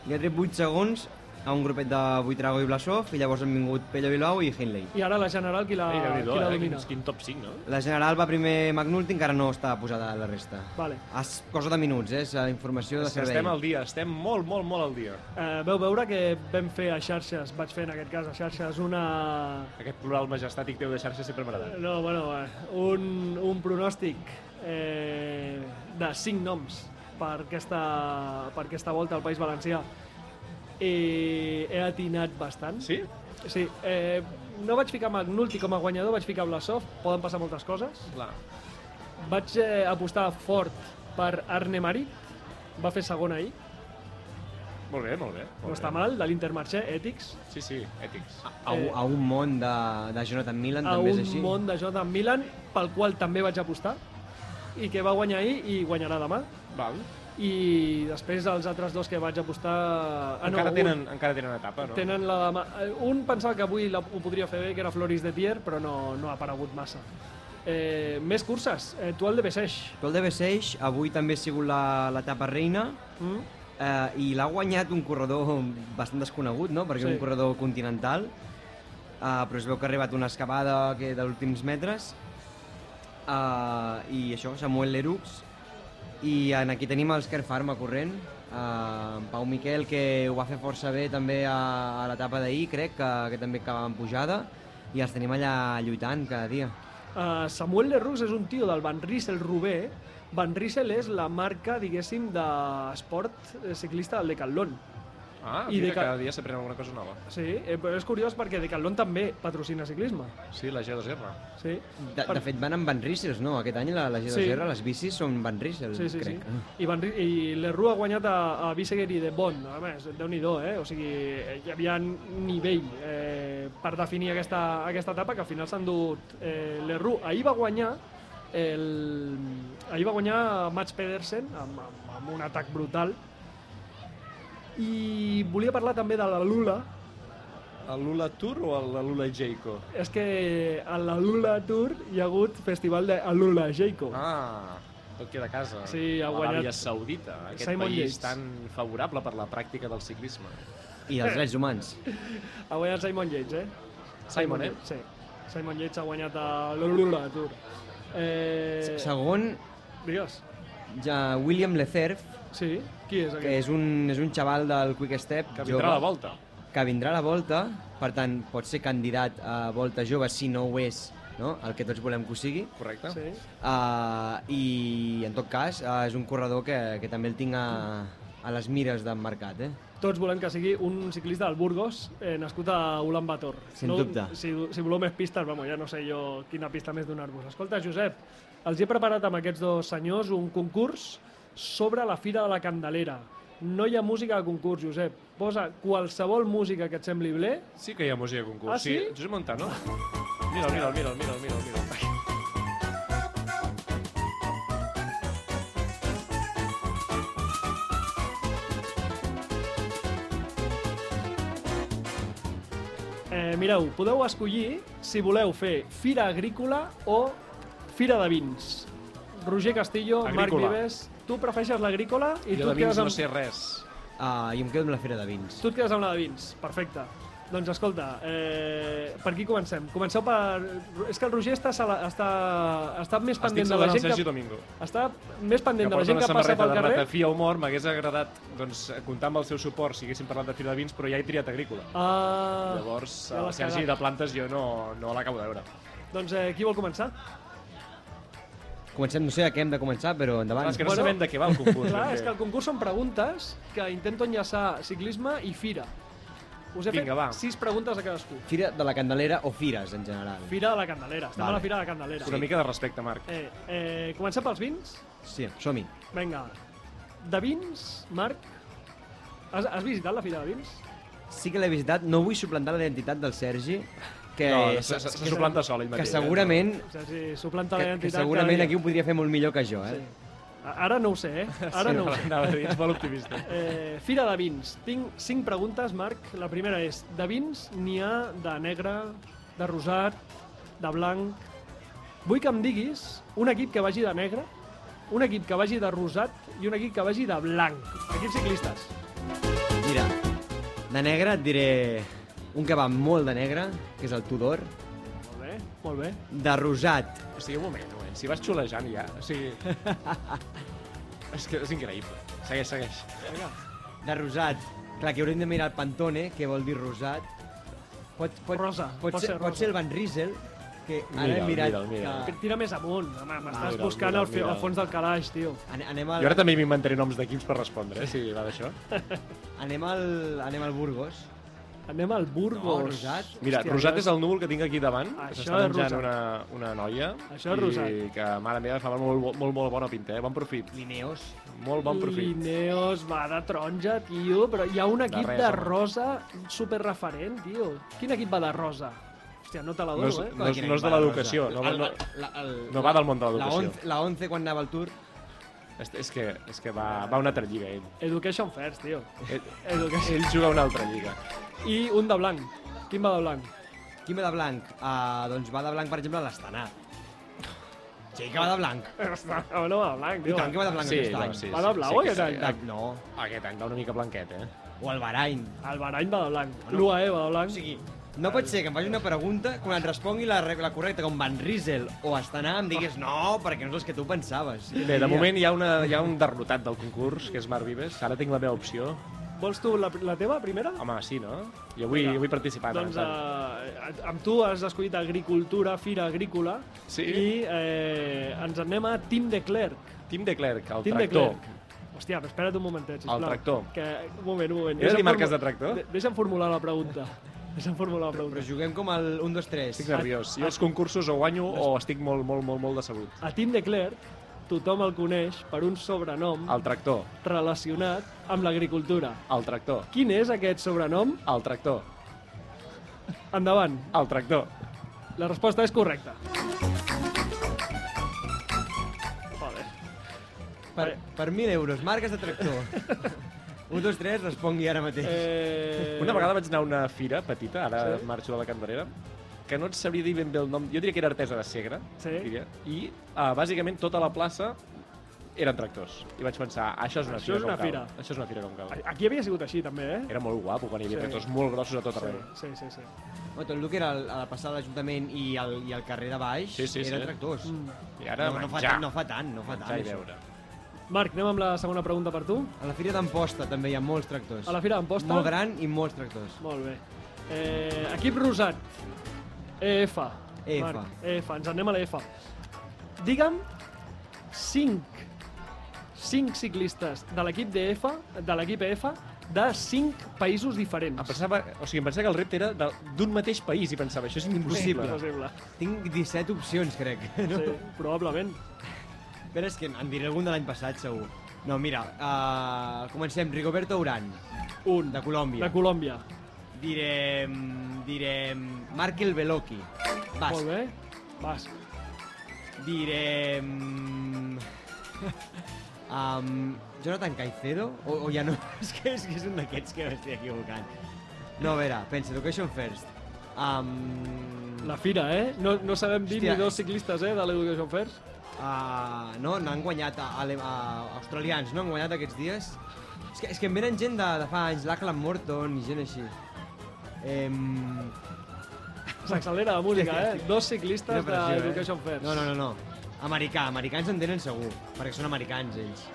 Speaker 3: Li ha tret 8 segons a un grupet de Buitrago i Blasov i llavors han vingut Pello Bilbao i Hindley.
Speaker 1: I ara la General qui la,
Speaker 2: Ah, Ei,
Speaker 1: qui
Speaker 2: Déu-n'hi-do,
Speaker 1: la
Speaker 2: eh?
Speaker 1: domina?
Speaker 2: Quin, quin top 5, no?
Speaker 3: La general va primer McNulty, encara no està posada a la resta.
Speaker 1: Vale.
Speaker 3: És cosa de minuts, eh? És eh, informació de
Speaker 2: És que
Speaker 3: servei.
Speaker 2: estem al dia, estem molt, molt, molt al dia.
Speaker 1: Eh, veu veure que vam fer a xarxes, vaig fer en aquest cas a xarxes una,
Speaker 2: Aquest plural majestàtic teu de xarxa sempre m'ha agradat.
Speaker 1: No, bueno, eh, un, un pronòstic eh, de cinc noms per aquesta, per aquesta volta al País Valencià. I he atinat bastant.
Speaker 2: Sí?
Speaker 1: Sí. Eh, no vaig ficar McNulty com a guanyador, vaig ficar Blasov, poden passar moltes coses.
Speaker 2: Clar.
Speaker 1: Vaig eh, apostar fort per Arne Marit, va fer segon ahir,
Speaker 2: Molt bé, molt bé. Molt
Speaker 1: no
Speaker 2: bé.
Speaker 1: està mal, de l'Intermarché, ètics.
Speaker 2: Sí, sí, ètics.
Speaker 3: A, un- a un món de, de Jonathan Milan
Speaker 1: a
Speaker 3: també
Speaker 1: un
Speaker 3: és així.
Speaker 1: món de Jordan Milan, pel qual també vaig apostar, i que va guanyar ahir i guanyarà demà.
Speaker 2: Val.
Speaker 1: i després els altres dos que vaig apostar... Ah,
Speaker 2: encara,
Speaker 1: un-
Speaker 2: tenen, encara tenen etapa, no?
Speaker 1: Tenen la demà... eh, Un pensava que avui la, ho podria fer bé, que era Floris de Tier, però no, no ha aparegut massa. Eh, més curses. Eh, tu el de Beseix.
Speaker 3: Però el de Beseix avui també ha sigut la- l'etapa reina
Speaker 1: Mm?
Speaker 3: eh, i l'ha guanyat un corredor bastant desconegut, no? Perquè
Speaker 1: Sí.
Speaker 3: és un corredor continental, eh, però es veu que ha arribat una escapada que de últims metres eh, i això, Samuel Lerux i en aquí tenim el Sker Farma corrent eh, en Pau Miquel que ho va fer força bé també a, a l'etapa d'ahir crec que, que també acabava en pujada i els tenim allà lluitant cada dia
Speaker 1: Eh, Samuel Lerux és un tio del Van Riesel Rubé. Van Riesel és la marca, diguéssim, d'esport eh, ciclista del Decathlon.
Speaker 2: Ah,
Speaker 1: I
Speaker 2: mira,
Speaker 1: de ca-
Speaker 2: cada dia s'aprèn alguna cosa nova.
Speaker 1: Sí, eh, però és curiós perquè Decathlon també patrocina ciclisme.
Speaker 2: Sí, la G2R.
Speaker 1: Sí,
Speaker 3: De, de fet, van amb Van Riesels, no? Aquest any la, la G2R,
Speaker 1: Sí.
Speaker 3: les bicis són Van Riesels,
Speaker 1: sí, sí,
Speaker 3: crec.
Speaker 1: sí. I, Van, Ri- I l'Erru ha guanyat a, a Bisseguer i de Bond, a més, Déu-n'hi-do, eh? O sigui, eh, hi havia nivell eh, per definir aquesta, aquesta etapa que al final s'han dut eh, l'Erru. Ahir va guanyar el... Ahir va guanyar Mats Pedersen amb, amb, amb un atac brutal i volia parlar també de la Lula,
Speaker 2: El Lula Tour o el Lula Jayco?
Speaker 1: és que a la Lula Tour hi ha hagut festival de Lula Jacob.
Speaker 2: Ah, tot queda a casa.
Speaker 1: Sí, ha
Speaker 2: A
Speaker 1: guanyat-
Speaker 2: L'Aràbia Saudita, aquest
Speaker 1: Simon
Speaker 2: país
Speaker 1: Yates.
Speaker 2: tan favorable per la pràctica del ciclisme.
Speaker 3: I els drets humans.
Speaker 2: Eh.
Speaker 1: Ha guanyat Simon Yates, eh?
Speaker 2: Simon, eh?
Speaker 1: Yates, Sí. Simon Yates ha guanyat a l'Olula Tour. Eh,
Speaker 3: Segon,
Speaker 1: digues.
Speaker 3: ja William Lecerf,
Speaker 1: Sí, qui és
Speaker 3: que
Speaker 1: aquest?
Speaker 3: és un, és un xaval del Quick Step
Speaker 2: Que vindrà a la volta.
Speaker 3: que vindrà a la volta, per tant, pot ser candidat a Volta Jove si no ho és, no? el que tots volem que ho sigui.
Speaker 2: Correcte?
Speaker 1: Sí.
Speaker 3: Uh, I, en tot cas, uh, és un corredor que, que també el tinc a, a les mires del mercat. Eh?
Speaker 1: Tots volem que sigui un ciclista del Burgos eh, nascut a Ulan Bator.
Speaker 3: Sens dubte.
Speaker 1: Si, si voleu més pistes, vamos, ja no sé jo quina pista més donar-vos. Escolta, Josep, els he preparat amb aquests dos senyors un concurs sobre la Fira de la Candelera. No hi ha música a concurs, Josep. Posa qualsevol música que et sembli bé.
Speaker 2: Sí que hi ha música a concurs.
Speaker 1: Ah, sí?
Speaker 2: Josep Montano. Mira'l, mira'l, mira'l, mira'l, mira'l. Mira.
Speaker 1: Eh, mireu, podeu escollir si voleu fer Fira Agrícola o Fira de Vins. Roger Castillo,
Speaker 2: Agrícola.
Speaker 1: Marc Vives, tu prefereixes l'agrícola i
Speaker 2: Jo
Speaker 1: tu
Speaker 2: de
Speaker 1: et
Speaker 2: vins
Speaker 1: quedes amb...
Speaker 2: no sé res.
Speaker 3: Uh, I em quedo amb la Fera de Vins.
Speaker 1: Tu et quedes amb la de vins, perfecte. Doncs escolta, eh, per aquí comencem. Comenceu per... És que el Roger està, sala- està, està més
Speaker 2: Estic
Speaker 1: pendent de la
Speaker 2: saludant el
Speaker 1: gent
Speaker 2: Sergi
Speaker 1: que...
Speaker 2: Domingo.
Speaker 1: Està més
Speaker 2: Que
Speaker 1: pendent de la
Speaker 2: porta
Speaker 1: gent
Speaker 2: una
Speaker 1: que passa
Speaker 2: samarreta
Speaker 1: pel
Speaker 2: de
Speaker 1: carrer.
Speaker 2: ratafia humor. M'hagués agradat doncs, comptar amb el seu suport si haguéssim parlat de fila de vins, però ja he triat agrícola.
Speaker 1: Ah,
Speaker 2: Llavors,
Speaker 1: ja
Speaker 2: el
Speaker 1: l'has
Speaker 2: Sergi
Speaker 1: cagat.
Speaker 2: de plantes jo no, no l'acabo de veure.
Speaker 1: Doncs eh, qui vol començar?
Speaker 3: Comencem, no sé a què hem de començar, però endavant.
Speaker 2: Clar, és que no
Speaker 1: Bueno.
Speaker 2: sabem de què va el concurs.
Speaker 1: Clar,
Speaker 2: ben
Speaker 1: és
Speaker 2: bé.
Speaker 1: que el concurs són preguntes que intento enllaçar ciclisme i fira. Us he
Speaker 2: Vinga, va.
Speaker 1: fet sis preguntes a cadascú.
Speaker 3: Fira de la Candelera o Fires, en general.
Speaker 1: Fira de la Candelera, estem a
Speaker 3: Vale.
Speaker 1: la Fira de la Candelera.
Speaker 2: Una mica de respecte, Marc.
Speaker 1: Eh, eh, comencem pels vins?
Speaker 3: Sí, som-hi.
Speaker 1: Vinga. De vins, Marc, has, has visitat la Fira de Vins?
Speaker 3: Sí que l'he visitat, no vull suplantar la identitat del Sergi,
Speaker 1: Eh,
Speaker 3: que,
Speaker 2: No, se, se, se suplanta sol ell
Speaker 3: que
Speaker 2: mateix. eh?
Speaker 3: segurament,
Speaker 1: O sigui, si suplanta
Speaker 3: que,
Speaker 1: la
Speaker 3: que
Speaker 1: identitat...
Speaker 3: segurament
Speaker 1: cada
Speaker 3: aquí
Speaker 1: dia.
Speaker 3: ho podria fer molt millor que jo, eh?
Speaker 1: Sí. A- Ara no ho sé, eh? Ara
Speaker 2: Sí,
Speaker 1: no ho sé.
Speaker 2: Anava a dir, ets molt optimista.
Speaker 1: Eh, Fira de vins. Tinc cinc preguntes, Marc. La primera és, de vins n'hi ha de negre, de rosat, de blanc... Vull que em diguis un equip que vagi de negre, un equip que vagi de rosat i un equip que vagi de blanc. Equips ciclistes.
Speaker 3: Mira, de negre et diré un que va molt de negre, que és el Tudor.
Speaker 1: Molt bé, molt bé.
Speaker 3: De rosat,
Speaker 2: O sigui, un moment, un moment. Si vas xulejant ja, o
Speaker 1: <laughs>
Speaker 2: sigui... és que és increïble. Segueix, segueix.
Speaker 1: Vinga.
Speaker 3: de rosat. Clar, que haurem de mirar el Pantone, que vol dir rosat. Pot, pot,
Speaker 1: Rosa,
Speaker 3: pot,
Speaker 1: pot
Speaker 3: ser,
Speaker 1: ser rosa.
Speaker 3: pot ser el Van Riesel, que ara
Speaker 2: Mira'l,
Speaker 3: he mirat
Speaker 2: mira'l, mira'l.
Speaker 3: que...
Speaker 1: Tira més amunt. Home, m'estàs
Speaker 2: Mira'l,
Speaker 1: buscant
Speaker 2: mira'l,
Speaker 1: al, fi- al
Speaker 2: mira'l.
Speaker 1: fons del calaix, tio.
Speaker 3: An- Anem
Speaker 2: Jo
Speaker 3: al,
Speaker 2: ara també m'inventaré noms d'equips per respondre, eh, si va d'això.
Speaker 3: anem al, anem al Burgos.
Speaker 1: Anem al Burgos.
Speaker 3: No, rosat.
Speaker 2: Mira,
Speaker 1: Hòstia,
Speaker 2: Rosat
Speaker 1: jo-
Speaker 2: és el núvol que tinc aquí davant, que
Speaker 1: Això
Speaker 2: s'està
Speaker 1: és
Speaker 2: menjant
Speaker 1: rosat.
Speaker 2: una, una noia.
Speaker 1: Això és
Speaker 2: i
Speaker 1: rosat.
Speaker 2: que, mare meva, fa molt, bo- molt, molt bona pinta, eh? Bon profit.
Speaker 3: Lineos.
Speaker 2: Molt bon profit.
Speaker 1: Ineos va de taronja, tio, però hi ha un equip de,
Speaker 2: res, home.
Speaker 1: rosa superreferent, tio. Quin equip va de rosa? Hòstia, no te la
Speaker 2: No
Speaker 1: dono,
Speaker 2: és,
Speaker 1: eh?
Speaker 2: no és, no és de l'educació, no,
Speaker 3: El-
Speaker 2: no,
Speaker 3: la- el-
Speaker 2: no va del món de
Speaker 3: La
Speaker 2: l'educació.
Speaker 3: 11, la 11 quan anava al Tour.
Speaker 2: És, és que, és que va, va a una altra lliga, ell.
Speaker 1: eh. Education First, tio.
Speaker 2: Ell,
Speaker 1: Education.
Speaker 2: ell juga a una altra lliga.
Speaker 1: I un de blanc. Quin va de blanc?
Speaker 3: Qui va de blanc? Uh, doncs va de blanc, per exemple, l'Estanat. Sí, que va de blanc.
Speaker 1: No, no va de blanc,
Speaker 3: I
Speaker 1: tio.
Speaker 3: tant que va de blanc
Speaker 2: Sí,
Speaker 3: aquest
Speaker 2: no,
Speaker 3: any.
Speaker 2: sí.
Speaker 1: Va de blau,
Speaker 2: que
Speaker 1: aquest any?
Speaker 3: De- No,
Speaker 2: Aquest any va una mica blanquet, eh?
Speaker 3: o el Bahrain.
Speaker 1: El Barany va de blanc. L'UAE va de
Speaker 3: O
Speaker 1: blanc.
Speaker 3: sigui, no pot ser que em faci una pregunta quan et respongui la, re- la correcta, com Van Riesel o Astana, em diguis no, perquè no és el que tu pensaves.
Speaker 2: Bé, de moment hi ha, una, hi ha un derrotat del concurs, que és Marc Vives. Ara tinc la meva opció.
Speaker 1: Vols tu la, la teva, primera?
Speaker 2: Home, sí, no? Jo vull,
Speaker 1: Vinga.
Speaker 2: vull participar. tant en
Speaker 1: Doncs
Speaker 2: tant.
Speaker 1: eh, amb tu has escollit agricultura, fira agrícola,
Speaker 2: Sí.
Speaker 1: i eh, ens en anem a Tim de Clerc.
Speaker 2: Tim de Klerk, el
Speaker 1: Tim de
Speaker 2: tractor.
Speaker 1: Clerc. Hòstia, però espera't un momentet, sisplau.
Speaker 2: tractor.
Speaker 1: Que, un moment, un moment.
Speaker 2: He de dir
Speaker 1: Deixa'm
Speaker 2: marques
Speaker 1: formu-
Speaker 2: de tractor?
Speaker 1: De- Deixa'm formular la pregunta. <laughs> Deixa'm formular la pregunta.
Speaker 3: Però juguem com el 1, 2, 3.
Speaker 2: Estic nerviós.
Speaker 1: Ah,
Speaker 2: Jo els concursos o guanyo o estic molt, molt, molt, molt decebut.
Speaker 1: A Tim de Klerk tothom el coneix per un sobrenom
Speaker 2: El tractor,
Speaker 1: relacionat amb l'agricultura.
Speaker 2: el tractor,
Speaker 1: Quin és aquest sobrenom?
Speaker 2: el tractor,
Speaker 1: Endavant.
Speaker 2: el tractor.
Speaker 1: La resposta és correcta.
Speaker 2: <laughs>
Speaker 1: Joder.
Speaker 3: Per, per 1.000 euros, marques de tractor. 1, 2, 3, respongui ara mateix. Eh...
Speaker 1: Eh...
Speaker 2: Una vegada vaig anar a una fira petita, ara sí? marxo de la Candelera, que no et sabria dir ben bé el nom, jo diria que era artesa de segre,
Speaker 1: Sí.
Speaker 2: diria, i uh, bàsicament tota la plaça eren tractors. I vaig pensar, això és una
Speaker 1: Això
Speaker 2: fira
Speaker 1: és
Speaker 2: com
Speaker 1: una
Speaker 2: cal.
Speaker 1: fira.
Speaker 2: Això és una fira com cal.
Speaker 1: Aquí havia sigut així, també, eh?
Speaker 2: Era molt guapo quan hi havia
Speaker 1: Sí.
Speaker 2: sí. tractors molt grossos a tot arreu.
Speaker 1: Sí, sí, sí. sí.
Speaker 3: Tot el que era el, a la passada de l'Ajuntament i, el, i el carrer de baix
Speaker 2: Sí, sí,
Speaker 3: eren
Speaker 2: sí.
Speaker 3: tractors.
Speaker 1: Mm.
Speaker 2: I ara
Speaker 3: no, no, fa
Speaker 2: menjar,
Speaker 3: tant, no fa tant, no fa tant.
Speaker 2: menjar i
Speaker 3: això.
Speaker 2: beure.
Speaker 1: Marc, anem amb la segona pregunta per tu.
Speaker 3: A la Fira d'Amposta també hi ha molts tractors.
Speaker 1: A la Fira d'Amposta?
Speaker 3: Molt gran i molts tractors.
Speaker 1: Molt bé. Eh, equip rosat. EF.
Speaker 3: EF.
Speaker 1: Marc, EF. Ens anem a l'EF. Digue'm 5 5 ciclistes de l'equip d'EF, de l'equip EF, de 5 països diferents.
Speaker 3: Ah,
Speaker 2: Em pensava, o sigui, em pensava que el repte era de- d'un mateix país i pensava, això és impossible.
Speaker 1: Possible.
Speaker 3: Tinc 17 opcions, crec. <laughs> No?
Speaker 1: Sí, probablement.
Speaker 3: Però és que en diré algun de l'any passat, segur. No, mira, uh, comencem. Rigoberto Urán,
Speaker 1: Un.
Speaker 3: de Colòmbia.
Speaker 1: De Colòmbia.
Speaker 3: direm... Direm... Markel Beloki, basc.
Speaker 1: Molt bé. Vas.
Speaker 3: Direm... <laughs> Um, Jonathan Caicedo? O, o ja no? <laughs> És que és, que és un d'aquests que m'estic equivocant. No, a veure, pensa, Education First. Um,
Speaker 1: La fira, eh? No, no sabem dir
Speaker 3: Hòstia.
Speaker 1: ni dos ciclistes, eh, de l'Education First.
Speaker 3: Uh, no, n'han guanyat a, a, a, australians, no? Han guanyat aquests dies. És que, és que em venen gent de, de fa anys, l'Aclan Morton i gent així. Um,
Speaker 1: S'accelera la música, eh? Dos ciclistes de l'Education First.
Speaker 3: eh? No, no, no, no. Americà, americans en tenen segur, perquè són americans ells.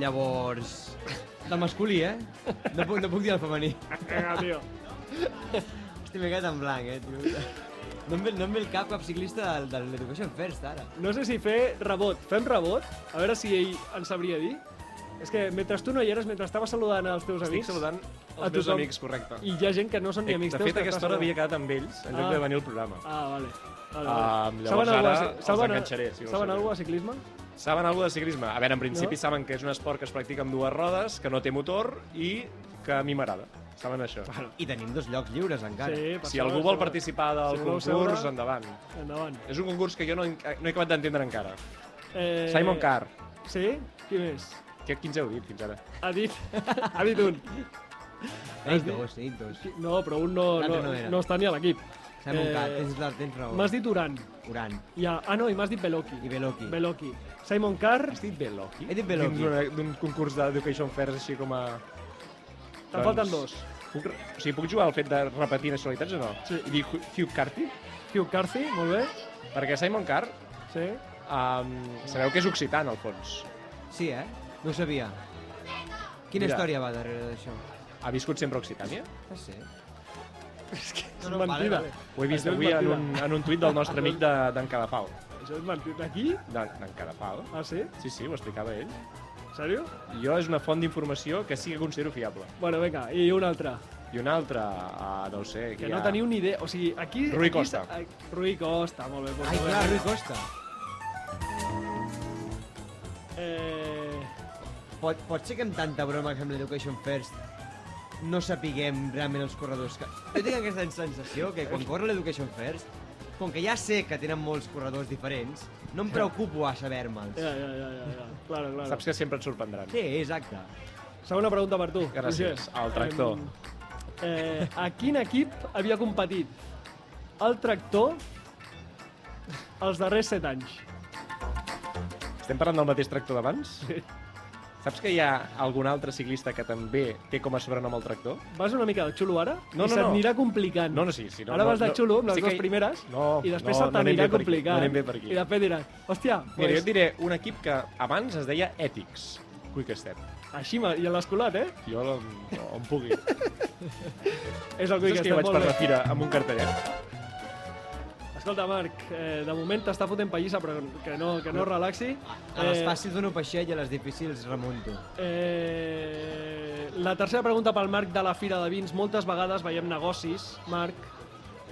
Speaker 3: Llavors... Del masculí, eh? No puc, no puc dir el femení.
Speaker 1: Vinga, tio.
Speaker 3: Hosti, m'he quedat en blanc, eh, tio. No em ve, no em ve el cap cap ciclista del, de l'Education First, ara.
Speaker 1: No sé si fer rebot. Fem rebot? A veure si ell en sabria dir. És que mentre tu no hi eres, mentre estava saludant els teus
Speaker 2: Estic
Speaker 1: amics...
Speaker 2: saludant
Speaker 1: a
Speaker 2: els meus
Speaker 1: tothom.
Speaker 2: amics, correcte.
Speaker 1: I hi ha gent que no són ni amics
Speaker 2: de
Speaker 1: teus.
Speaker 2: fet,
Speaker 1: que
Speaker 2: aquesta
Speaker 1: estàs
Speaker 2: hora havia
Speaker 1: saludant.
Speaker 2: quedat amb ells, en lloc
Speaker 1: Ah.
Speaker 2: de venir al programa.
Speaker 1: Ah, vale. vale,
Speaker 2: Ah,
Speaker 1: vale.
Speaker 2: llavors
Speaker 1: saben
Speaker 2: ara
Speaker 1: alguna cosa-
Speaker 2: els
Speaker 1: saben,
Speaker 2: enganxaré, si no ho
Speaker 1: saben
Speaker 2: sabeu.
Speaker 1: alguna cosa de ciclisme?
Speaker 2: Saben alguna de ciclisme? A veure, en principi
Speaker 1: No?
Speaker 2: saben que és un esport que es practica amb dues rodes, que no té motor i que a mi m'agrada. Saben això.
Speaker 1: Ah,
Speaker 3: I tenim dos llocs lliures, encara.
Speaker 1: per
Speaker 2: Si
Speaker 1: saber,
Speaker 2: algú
Speaker 1: per
Speaker 2: vol
Speaker 1: saber.
Speaker 2: participar del
Speaker 1: Si voleu
Speaker 2: concurs,
Speaker 1: seure-
Speaker 2: endavant.
Speaker 1: Endavant.
Speaker 2: És un concurs que jo no, he- no he acabat d'entendre encara.
Speaker 1: Eh,
Speaker 2: Simon Carr,
Speaker 1: Sí? Qui més?
Speaker 2: que, quins heu dit fins ara?
Speaker 1: Ha
Speaker 2: <laughs>
Speaker 1: dit, ha dit un.
Speaker 3: Ells dos, ells dos.
Speaker 1: Qui- No, però un no, no,
Speaker 3: L'altre no
Speaker 1: no,
Speaker 3: era.
Speaker 1: està ni a l'equip.
Speaker 3: Simon eh... Cat, tens, la- tens raó.
Speaker 1: M'has dit Duran.
Speaker 3: Uran
Speaker 1: I a... Ah, no, i m'has dit Beloki.
Speaker 3: i Beloki.
Speaker 1: Beloki. Simon Carr,
Speaker 2: Has dit Beloki?
Speaker 3: He dit Beloki.
Speaker 2: Dins d'una- d'un concurs d'Education Fairs així com a... Doncs
Speaker 1: te'n falten
Speaker 3: Doncs
Speaker 1: dos.
Speaker 2: Puc, re- o sigui, puc jugar al fet de repetir nacionalitats o no?
Speaker 1: Sí.
Speaker 2: I dir Hugh Hugh Carthy?
Speaker 1: Hugh Carthy, molt bé.
Speaker 2: Perquè Simon Carr,
Speaker 1: Sí.
Speaker 2: um, sabeu que és occità, en el fons.
Speaker 3: Sí, eh? No ho sabia. Quina
Speaker 2: Mira.
Speaker 3: història va darrere d'això?
Speaker 2: Ha viscut sempre a Occitània?
Speaker 3: No sé.
Speaker 1: És
Speaker 3: No, no,
Speaker 1: mentida.
Speaker 3: vale,
Speaker 2: Ho he vist
Speaker 1: Això és
Speaker 2: avui en
Speaker 1: mentida.
Speaker 2: un, en un tuit del nostre amic de- d'en de, Cadafal.
Speaker 1: Això és mentida. Aquí?
Speaker 2: D'en d'en Cadafal?
Speaker 1: Ah, sí?
Speaker 2: Sí, sí, ho explicava ell.
Speaker 1: Sèrio?
Speaker 2: Jo és una font d'informació que sí que considero fiable.
Speaker 1: Bueno, vinga, i una altra.
Speaker 2: I una altra, ah, no ho sé...
Speaker 1: Que
Speaker 2: hi
Speaker 1: no
Speaker 2: ha-
Speaker 1: teniu ni idea. O sigui, aquí...
Speaker 2: Rui
Speaker 1: aquí s-
Speaker 2: Costa.
Speaker 1: ai, Rui Costa, molt bé. Doncs,
Speaker 3: Ai,
Speaker 1: molt
Speaker 3: clar,
Speaker 1: bé.
Speaker 3: Rui Costa.
Speaker 1: Eh,
Speaker 3: Pot, pot ser que amb tanta broma que amb l'Education First no sapiguem realment els corredors que... Jo tinc aquesta sensació que quan corre l'Education First, com que ja sé que tenen molts corredors diferents, no em preocupo a saber-me'ls.
Speaker 1: ja, ja, ja, ja, ja. Claro, claro.
Speaker 2: Saps que sempre et sorprendran.
Speaker 3: Sí, exacte.
Speaker 1: Segona pregunta per tu.
Speaker 2: Gràcies.
Speaker 1: Roger.
Speaker 2: El tractor.
Speaker 1: Em, Eh, a quin equip havia competit el tractor els darrers set anys?
Speaker 2: Estem parlant del mateix tractor d'abans?
Speaker 1: Sí.
Speaker 2: Saps que hi ha algun altre ciclista que també té com a sobrenom el tractor?
Speaker 1: Vas una mica de xulo ara
Speaker 2: No,
Speaker 1: i
Speaker 2: no,
Speaker 1: s'anirà complicant.
Speaker 2: No, no, sí, sí, no,
Speaker 1: ara
Speaker 2: no,
Speaker 1: vas de
Speaker 2: no.
Speaker 1: xulo amb les
Speaker 2: Sí que
Speaker 1: dues
Speaker 2: hi-
Speaker 1: primeres
Speaker 2: No,
Speaker 1: i després
Speaker 2: no,
Speaker 1: se
Speaker 2: no anem
Speaker 1: t'anirà
Speaker 2: bé per aquí,
Speaker 1: complicant.
Speaker 2: no anem bé per aquí.
Speaker 1: I després diràs, hòstia,
Speaker 2: Mira, jo
Speaker 1: pues,
Speaker 2: et diré un equip que abans es deia Ethics. Quick Step.
Speaker 1: així me- i l'has colat, eh?
Speaker 2: Jo on, on pugui.
Speaker 1: És el
Speaker 2: Saps
Speaker 1: Quick
Speaker 2: que jo
Speaker 1: Step,
Speaker 2: vaig
Speaker 1: molt
Speaker 2: per la
Speaker 1: bé.
Speaker 2: fira amb un cartellet?
Speaker 1: Escolta, Marc, eh, de moment t'està fotent pallissa, però que no, que no relaxi.
Speaker 3: A les fàcils dono peixet i a les difícils remunto.
Speaker 1: Eh, la tercera pregunta pel Marc de la Fira de Vins. Moltes vegades veiem negocis, Marc.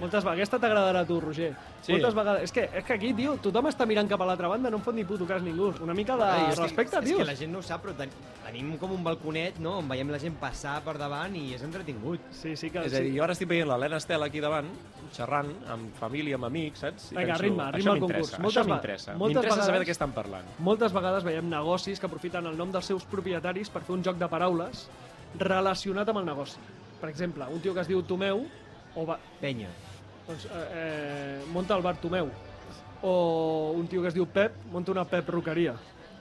Speaker 1: Moltes vegades. Aquesta t'agradarà a tu, Roger.
Speaker 2: Sí.
Speaker 1: Moltes vegades. És que, és que aquí, tio, tothom està mirant cap a l'altra banda, no em fot ni puto cas ningú. Una mica de
Speaker 3: Ai, és que-
Speaker 1: Ah, respecte,
Speaker 3: És
Speaker 1: tio.
Speaker 3: que la gent no ho sap, però ten tenim com un balconet, no?, on veiem la gent passar per davant i és entretingut.
Speaker 1: Sí, sí que...
Speaker 2: És a dir,
Speaker 1: sí.
Speaker 2: jo ara estic veient l'Helena Estela aquí davant, xerrant, amb família, amb amics, saps? I
Speaker 1: Vinga,
Speaker 2: penso,
Speaker 1: ritme,
Speaker 2: "Això
Speaker 1: ritme al
Speaker 2: m'interessa,
Speaker 1: concurs. Moltes
Speaker 2: Això
Speaker 1: ve-
Speaker 2: m'interessa.
Speaker 1: moltes
Speaker 2: M'interessa saber
Speaker 1: vegades-
Speaker 2: de què estan parlant.
Speaker 1: Moltes vegades veiem negocis que aprofiten el nom dels seus propietaris per fer un joc de paraules relacionat amb el negoci. Per exemple, un tio que es diu Tomeu, o va,
Speaker 3: Penya.
Speaker 1: doncs, eh, eh, monta el bar Tomeu. O un tio que es diu Pep, monta una Pep Roqueria.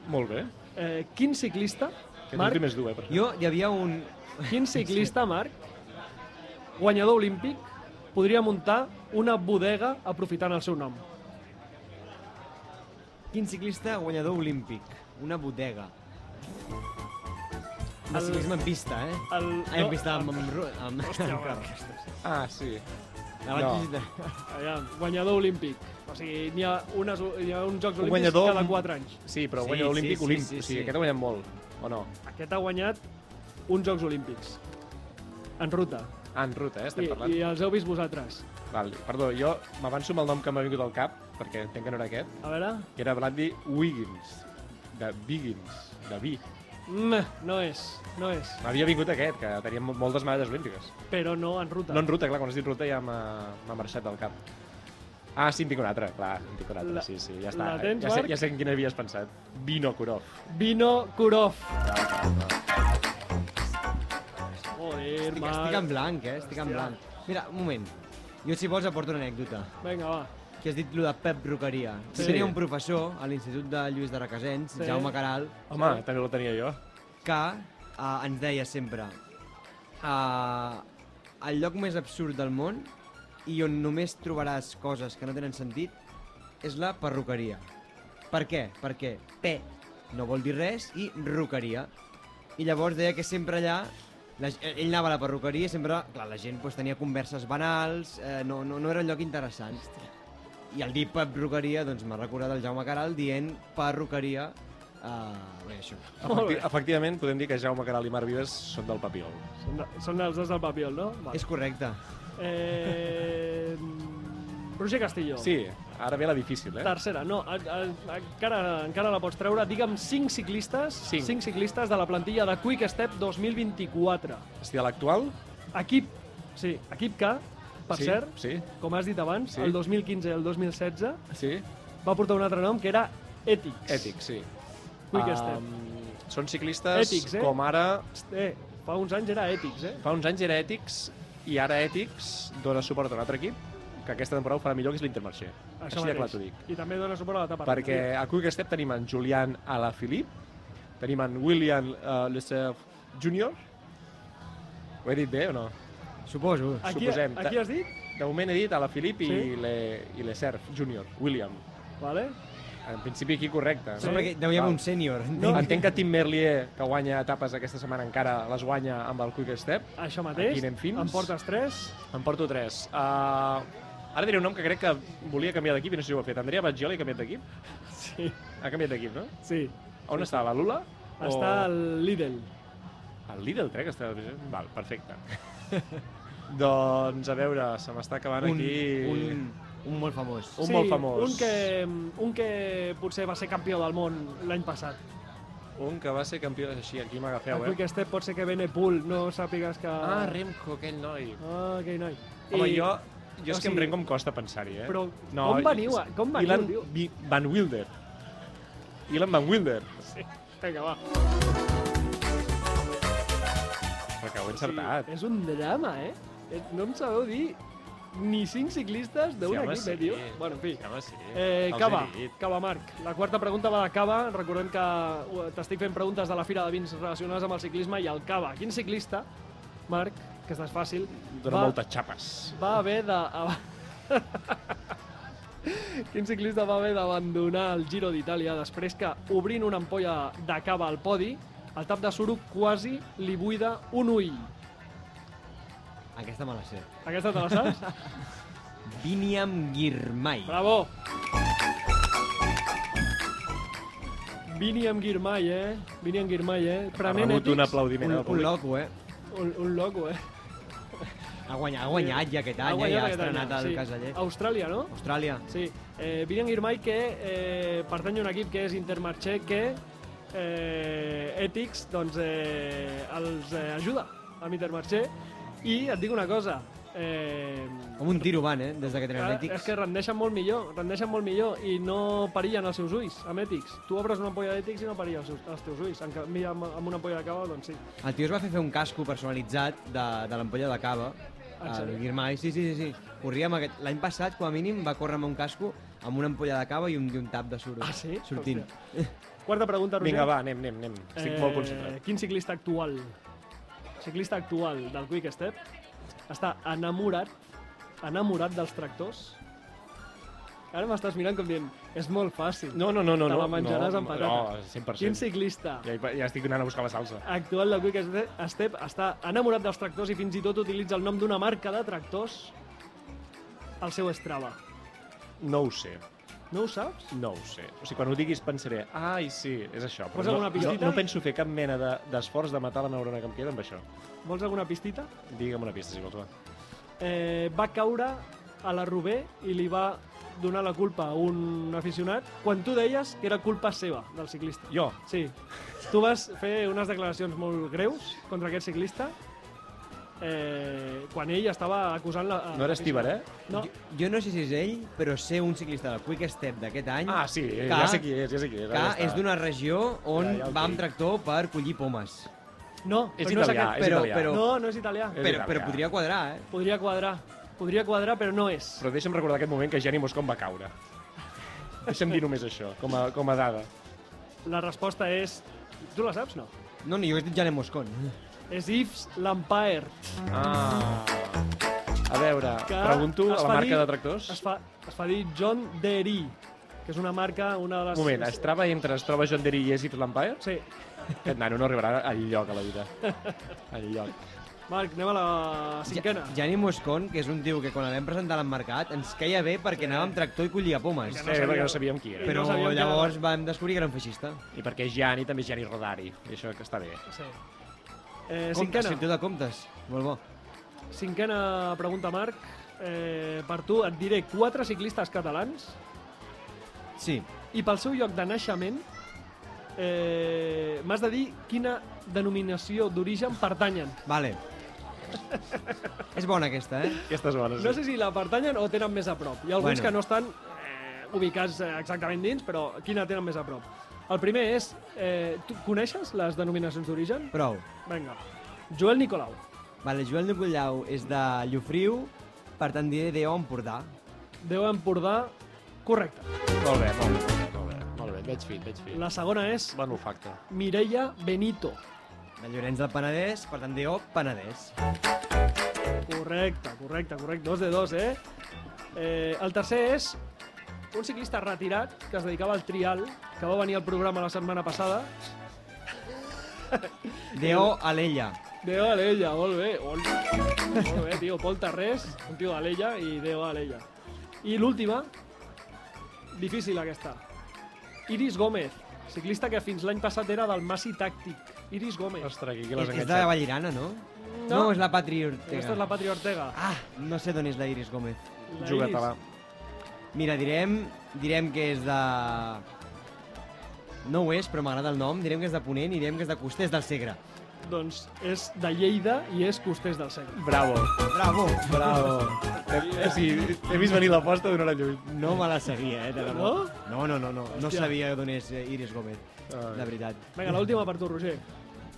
Speaker 2: Molt bé.
Speaker 1: Eh, quin ciclista,
Speaker 2: Que
Speaker 1: Marc,
Speaker 2: Marc... més dur, eh, per
Speaker 3: Jo, hi havia un...
Speaker 2: <laughs>
Speaker 1: quin ciclista, Marc, guanyador olímpic, podria muntar una bodega aprofitant el seu nom?
Speaker 3: Quin ciclista guanyador olímpic? Una bodega. De
Speaker 1: El-
Speaker 3: ciclisme en pista, eh?
Speaker 1: El-
Speaker 3: Ai,
Speaker 1: no,
Speaker 3: en pista amb...
Speaker 1: el-
Speaker 3: amb, ru- amb...
Speaker 1: Hòstia,
Speaker 3: amb
Speaker 1: Marc.
Speaker 3: carros.
Speaker 2: Ah, sí.
Speaker 3: Abans
Speaker 2: No.
Speaker 3: visita-
Speaker 1: Aviam, guanyador olímpic. O sigui, n'hi ha, unes, n'hi ha uns Jocs
Speaker 2: Un
Speaker 1: Olímpics
Speaker 2: guanyador
Speaker 1: cada
Speaker 2: amb-
Speaker 1: 4 anys.
Speaker 2: Sí, però
Speaker 3: Sí,
Speaker 2: guanya
Speaker 3: sí,
Speaker 2: l'Olímpic,
Speaker 3: sí,
Speaker 2: Olímpic.
Speaker 3: sí,
Speaker 2: o sigui,
Speaker 3: sí.
Speaker 2: aquest ha guanyat molt, o no?
Speaker 1: Aquest ha guanyat uns Jocs Olímpics. En ruta.
Speaker 2: Ah, en ruta, eh, estem
Speaker 1: I,
Speaker 2: parlant.
Speaker 1: I els heu vist vosaltres.
Speaker 2: Val, perdó, jo m'avanço amb el nom que m'ha vingut al cap, perquè entenc que no era aquest,
Speaker 1: A veure...
Speaker 2: que era Bradley Wiggins, de Biggins, de Vi.
Speaker 1: Mm, no és, no és.
Speaker 2: M'havia vingut aquest, que tenia mo- moltes medalles olímpiques.
Speaker 1: Però no en ruta.
Speaker 2: No en ruta, clar, quan has dit ruta ja m'ha m'ha marxat del cap. Ah, sí, en tinc un altre, clar, en tinc un altre,
Speaker 1: La-
Speaker 2: sí, sí, ja està. Eh,
Speaker 1: la tens,
Speaker 2: ja, sé,
Speaker 1: Marc?
Speaker 2: ja sé en quina havies pensat. Vino Kurov.
Speaker 1: Vino Kurov.
Speaker 2: Clar,
Speaker 1: Joder,
Speaker 3: Estic, estic en
Speaker 1: Marc.
Speaker 3: blanc, eh? Estic en
Speaker 1: Hòstia.
Speaker 3: blanc. Mira, un moment. Jo, si vols, aporto una anècdota.
Speaker 1: Vinga, va.
Speaker 3: que has dit lo de Pep Roqueria.
Speaker 1: Sí.
Speaker 3: Sí. Tenia un professor a l'Institut de Lluís de Requesens,
Speaker 1: Sí.
Speaker 3: sí. Jaume Caral,
Speaker 2: Home, també la tenia jo.
Speaker 3: que eh, ens deia sempre eh, el lloc més absurd del món i on només trobaràs coses que no tenen sentit és la perruqueria. Per què? Perquè pe no vol dir res i roqueria. I llavors deia que sempre allà la, g- ell anava a la perruqueria i sempre clar, la gent pues, tenia converses banals, eh, no, no, no era un lloc interessant. I el dir perruqueria doncs, m'ha recordat el Jaume Caral dient perruqueria eh, bé, això.
Speaker 1: Molt bé.
Speaker 2: Efecti efectivament, podem dir que Jaume Caral i Marc Vives són del Papiol.
Speaker 1: Són, de, són els dos del papiol, no? Va.
Speaker 3: És correcte.
Speaker 1: Eh... Roger Castillo.
Speaker 2: Sí, eh? ara ve la difícil, eh?
Speaker 1: Tercera, no, a, a, encara, encara la pots treure. Digue'm 5 ciclistes,
Speaker 2: Cinc.
Speaker 1: 5 ciclistes de la plantilla de Quick Step 2024.
Speaker 2: Hosti, de l'actual?
Speaker 1: Equip, sí, equip que, per
Speaker 2: sí,
Speaker 1: cert,
Speaker 2: Sí,
Speaker 1: com has dit abans,
Speaker 2: Sí.
Speaker 1: el 2015 i el 2016
Speaker 2: sí.
Speaker 1: va portar un altre nom que era Ethics.
Speaker 2: Ètic, sí.
Speaker 1: Quick
Speaker 2: Ah,
Speaker 1: Step.
Speaker 2: Són ciclistes
Speaker 1: Ètics, eh?
Speaker 2: com ara...
Speaker 1: Eh, fa uns anys era Ethics, eh?
Speaker 2: Fa uns anys era ètics i ara ètics dona suport a un altre equip que aquesta temporada ho farà millor, que és l'Intermarché. Així de clar t'ho dic.
Speaker 1: I també dona suport a l'etapa.
Speaker 2: Perquè a Quick Step tenim en Julián Alaphilippe, tenim en William uh, Lesef Jr. Ho he dit bé o no?
Speaker 3: Suposo.
Speaker 1: aquí,
Speaker 2: suposem.
Speaker 1: Aquí has dit?
Speaker 2: De moment he dit Alaphilippe
Speaker 1: Sí.
Speaker 2: i, le, i Lesef Jr. William.
Speaker 1: Vale.
Speaker 2: En principi aquí correcte.
Speaker 1: Sí.
Speaker 2: no?
Speaker 3: Sembla que deu haver
Speaker 2: Val.
Speaker 3: un sènior.
Speaker 2: No,
Speaker 3: entenc.
Speaker 2: entenc que Tim Merlier, que guanya etapes aquesta setmana, encara les guanya amb el Quick Step.
Speaker 1: Això mateix.
Speaker 2: Aquí anem fins.
Speaker 1: Em portes 3.
Speaker 2: En porto tres. Uh, ara diré un nom que crec que volia canviar d'equip i no sé si ho ha fet. Andrea Baggiola ha canviat d'equip?
Speaker 1: Sí,
Speaker 2: Ha canviat d'equip, no?
Speaker 1: sí.
Speaker 2: On està? La Lula? O-
Speaker 1: Està al Lidl.
Speaker 2: El Lidl, crec que està... Val, perfecte. <laughs> doncs, a veure, se m'està acabant
Speaker 3: un,
Speaker 2: aquí...
Speaker 3: un, un molt famós.
Speaker 2: Un molt famós.
Speaker 1: Un que, un que potser va ser campió del món l'any passat.
Speaker 2: un que va ser campió de... Així, aquí
Speaker 1: Ja,
Speaker 2: m'agafeu,
Speaker 1: Avui
Speaker 2: eh?
Speaker 1: que este pot ser que Benepool no sàpigues que...
Speaker 2: Ah, Remco, aquell noi.
Speaker 1: Ah, aquell noi.
Speaker 2: Home, jo,
Speaker 1: o
Speaker 2: jo és que em
Speaker 1: sigui-
Speaker 2: renc com costa pensar-hi, eh?
Speaker 1: Però com veniu a- com veniu,
Speaker 2: Ilan
Speaker 1: tio?
Speaker 2: Vi- Van Wilder. Ilan Van Wilder.
Speaker 1: <laughs> Sí. Vinga, va.
Speaker 2: Però que ho he
Speaker 1: Sí,
Speaker 2: encertat.
Speaker 1: és un drama, eh? Eh, No em sabeu dir ni cinc ciclistes d'un
Speaker 2: home,
Speaker 1: equip, eh, tio? Bueno, en fi.
Speaker 2: Sí, home, sí.
Speaker 1: Eh,
Speaker 2: Els
Speaker 1: Cava,
Speaker 2: he dit.
Speaker 1: Cava Marc. La quarta pregunta va de Cava. Recordem que eh, t'estic fent preguntes de la Fira de Vins relacionades amb el ciclisme i el Cava. Quin ciclista, Marc, que estàs fàcil,
Speaker 2: Dóna
Speaker 1: va,
Speaker 2: moltes xapes.
Speaker 1: va haver de... a- <laughs> Quin ciclista va haver d'abandonar el Giro d'Itàlia després que, obrint una ampolla de cava al podi, el tap de suro quasi li buida un ull.
Speaker 3: Aquesta me la sé.
Speaker 1: Aquesta te la saps?
Speaker 3: Biniam Girmay.
Speaker 1: Bravo! Vini amb Guirmai, eh? Vini amb Guirmai, eh? Prenent
Speaker 2: rebut un
Speaker 1: èpics.
Speaker 2: aplaudiment
Speaker 3: Un,
Speaker 2: del
Speaker 3: un
Speaker 2: públic.
Speaker 3: loco, eh?
Speaker 1: Un, un loco, eh?
Speaker 3: Ha guanyat, ha guanyat ja aquest
Speaker 1: Ha
Speaker 3: any, eh?
Speaker 1: guanyat
Speaker 3: ja ha
Speaker 1: aquest any,
Speaker 3: estrenat el
Speaker 1: sí.
Speaker 3: caseller.
Speaker 1: Austràlia, no?
Speaker 3: Austràlia.
Speaker 1: Sí, eh, Virian Girmay que eh, pertany a un equip que és Intermarché que eh, Ethics doncs, eh, els eh, ajuda amb Intermarché i et dic una cosa eh,
Speaker 3: Com un tiro van, eh? Des que tenen
Speaker 1: clar, Ah, és
Speaker 3: Athletics.
Speaker 1: que rendeixen molt millor rendeixen molt millor i no perillen els seus ulls amb Ethics tu obres una ampolla d'Ethics i no perilla els, seus, els teus ulls en canvi amb, amb una ampolla de cava doncs sí
Speaker 3: El tio es va fer fer un casco personalitzat de, de l'ampolla de cava,
Speaker 1: Ah,
Speaker 3: el
Speaker 1: sí?
Speaker 3: Guirmai. Sí, sí, sí. sí. Corria amb aquest... L'any passat, com a mínim, va córrer amb un casco amb una ampolla de cava i un, i un tap de suro.
Speaker 1: Ah, sí?
Speaker 3: Sortint.
Speaker 1: quarta pregunta Roger Eh,
Speaker 2: Vinga, va, anem, anem, anem. Estic molt concentrat.
Speaker 1: Quin ciclista actual, ciclista actual del Quick Step, està enamorat, enamorat dels tractors? Ara m'estàs mirant com dient, és molt fàcil.
Speaker 2: No, no, no, no.
Speaker 1: Te la
Speaker 2: no,
Speaker 1: menjaràs
Speaker 2: no,
Speaker 1: amb patates.
Speaker 2: No, 100%.
Speaker 1: Quin ciclista
Speaker 2: Ja, hi- ja estic anant a buscar la salsa.
Speaker 1: actual del Quick Step- Step està enamorat dels tractors i fins i tot utilitza el nom d'una marca de tractors al seu Strava?
Speaker 2: No ho sé.
Speaker 1: No ho saps?
Speaker 2: No ho sé. O sigui, quan ho diguis pensaré, ai, sí, és això. Però
Speaker 1: Posa
Speaker 2: no,
Speaker 1: alguna pistita
Speaker 2: no, no
Speaker 1: i-
Speaker 2: penso fer cap mena de- d'esforç de, matar la neurona que em queda amb això.
Speaker 1: Vols alguna pistita?
Speaker 2: Digue'm una pista, si vols, va.
Speaker 1: eh, va caure a la Rubé i li va donar la culpa a un aficionat quan tu deies que era culpa seva del ciclista.
Speaker 2: Jo,
Speaker 1: Sí, tu vas fer unes declaracions molt greus contra aquest ciclista eh, quan ell estava acusant la...
Speaker 2: no era Estíbar, eh?
Speaker 1: No,
Speaker 3: Jo, jo no sé si és ell, però sé un ciclista del Quick Step d'aquest any
Speaker 2: Ah, sí, eh,
Speaker 3: K.
Speaker 2: ja sé qui és, ja sé qui és.
Speaker 3: que
Speaker 2: ara ja està.
Speaker 3: és d'una regió on
Speaker 2: Ja, ja el tinc.
Speaker 3: va amb tractor per collir pomes.
Speaker 1: no,
Speaker 2: És
Speaker 1: però no
Speaker 2: italià,
Speaker 1: aquest.
Speaker 2: és
Speaker 3: però-
Speaker 2: italià.
Speaker 3: però-
Speaker 1: No, no és italià.
Speaker 2: És
Speaker 3: Però,
Speaker 2: italià.
Speaker 3: però podria quadrar, eh?
Speaker 1: Podria quadrar, podria quadrar, però no és.
Speaker 2: Però deixa'm recordar aquest moment que Gianni Moscon va caure. Deixa'm dir només això, com a, com a dada.
Speaker 1: La resposta és... Tu la saps, no?
Speaker 3: No, ni jo he dit Janet Moscon.
Speaker 1: És Yves Lampaert.
Speaker 2: Ah. A veure,
Speaker 1: que
Speaker 2: pregunto
Speaker 1: es
Speaker 2: a la
Speaker 1: fa
Speaker 2: marca
Speaker 1: dir-
Speaker 2: de tractors.
Speaker 1: Es fa, es fa dir John Derry, que és una marca, una de les...
Speaker 2: Un moment, es troba entre es troba John Derry i Esip Lampire?
Speaker 1: Sí.
Speaker 2: Aquest nano no arribarà al lloc a la vida. Al lloc.
Speaker 1: Marc, anem a la cinquena. Ja,
Speaker 3: Janet Moscon, que és un tio que quan el vam presentar al mercat ens caia bé perquè anava amb tractor i collia pomes.
Speaker 1: Que
Speaker 2: Sí,
Speaker 1: no sabia-
Speaker 2: perquè no sabíem qui era.
Speaker 3: Però
Speaker 1: no sabíem que era-
Speaker 3: llavors vam descobrir que era un feixista.
Speaker 2: I perquè Gianni també és Gianni Rodari. I això que està bé.
Speaker 1: ja. Sí. Eh,
Speaker 3: Comptes,
Speaker 1: cinquena,
Speaker 3: sector de comptes. Molt bo.
Speaker 1: cinquena pregunta, Marc. Eh, per tu et diré quatre ciclistes catalans
Speaker 3: Sí.
Speaker 1: i pel seu lloc de naixement eh, m'has de dir quina denominació d'origen pertanyen. <laughs>
Speaker 3: Vale. és bona aquesta, eh?
Speaker 2: Aquestes bones.
Speaker 1: No sé si la pertanyen o tenen més a prop. Hi ha alguns bueno.
Speaker 3: Bueno.
Speaker 1: que no estan eh, ubicats eh, exactament dins, però quina tenen més a prop. El primer és... Eh, tu coneixes les denominacions d'origen?
Speaker 3: Prou.
Speaker 1: Vinga. Joel Nicolau.
Speaker 3: Vale, Joel Nicollau és de Llofriu, per tant diré de Empordà.
Speaker 1: Déu Empordà. Correcte.
Speaker 2: Molt bé, molt bé. Molt bé, molt bé. Veig fit, veig fit.
Speaker 1: La segona és
Speaker 2: Bon olfacte.
Speaker 1: Mireia Benito.
Speaker 3: De Llorenç del Penedès, per tant de Penedès.
Speaker 1: Correcte, correcte, correcte. Dos de dos, eh? eh el tercer és un ciclista retirat que es dedicava al trial, que va venir al programa la setmana passada.
Speaker 3: De O Alella.
Speaker 1: Déu a l'ella, molt bé. Molt, molt bé, tio. Pol Tarrés, un tio de l'ella i Déu a l'ella. I l'última, difícil aquesta. Iris Gómez, ciclista que fins l'any passat era del Massi Tàctic. Iris Gómez.
Speaker 2: Ostres, aquí, aquí
Speaker 3: És,
Speaker 2: l'has
Speaker 3: és de
Speaker 2: enganxat.
Speaker 3: Vallirana, no?
Speaker 1: No.
Speaker 3: no és la Patri Ortega.
Speaker 1: Aquesta és la Patria Ortega.
Speaker 3: Ah, no sé d'on és la Iris Gómez.
Speaker 1: La
Speaker 2: Juga
Speaker 1: Iris.
Speaker 2: talà.
Speaker 3: Mira, direm, direm que és de... No ho és, però m'agrada el nom. Direm que és de Ponent i direm que és de Costers del Segre.
Speaker 1: Doncs és de Lleida i és Costers del Segre.
Speaker 2: Bravo.
Speaker 3: Bravo!
Speaker 2: Bravo. He, o sigui, he vist venir l'aposta d'una hora lluny.
Speaker 3: <laughs> No me la seguia, eh, de debò. No, no, no, no. No
Speaker 1: Hòstia.
Speaker 3: sabia d'on és eh, Iris Gómez,
Speaker 2: Ai.
Speaker 3: de veritat.
Speaker 1: Vinga, l'última per tu, Roger.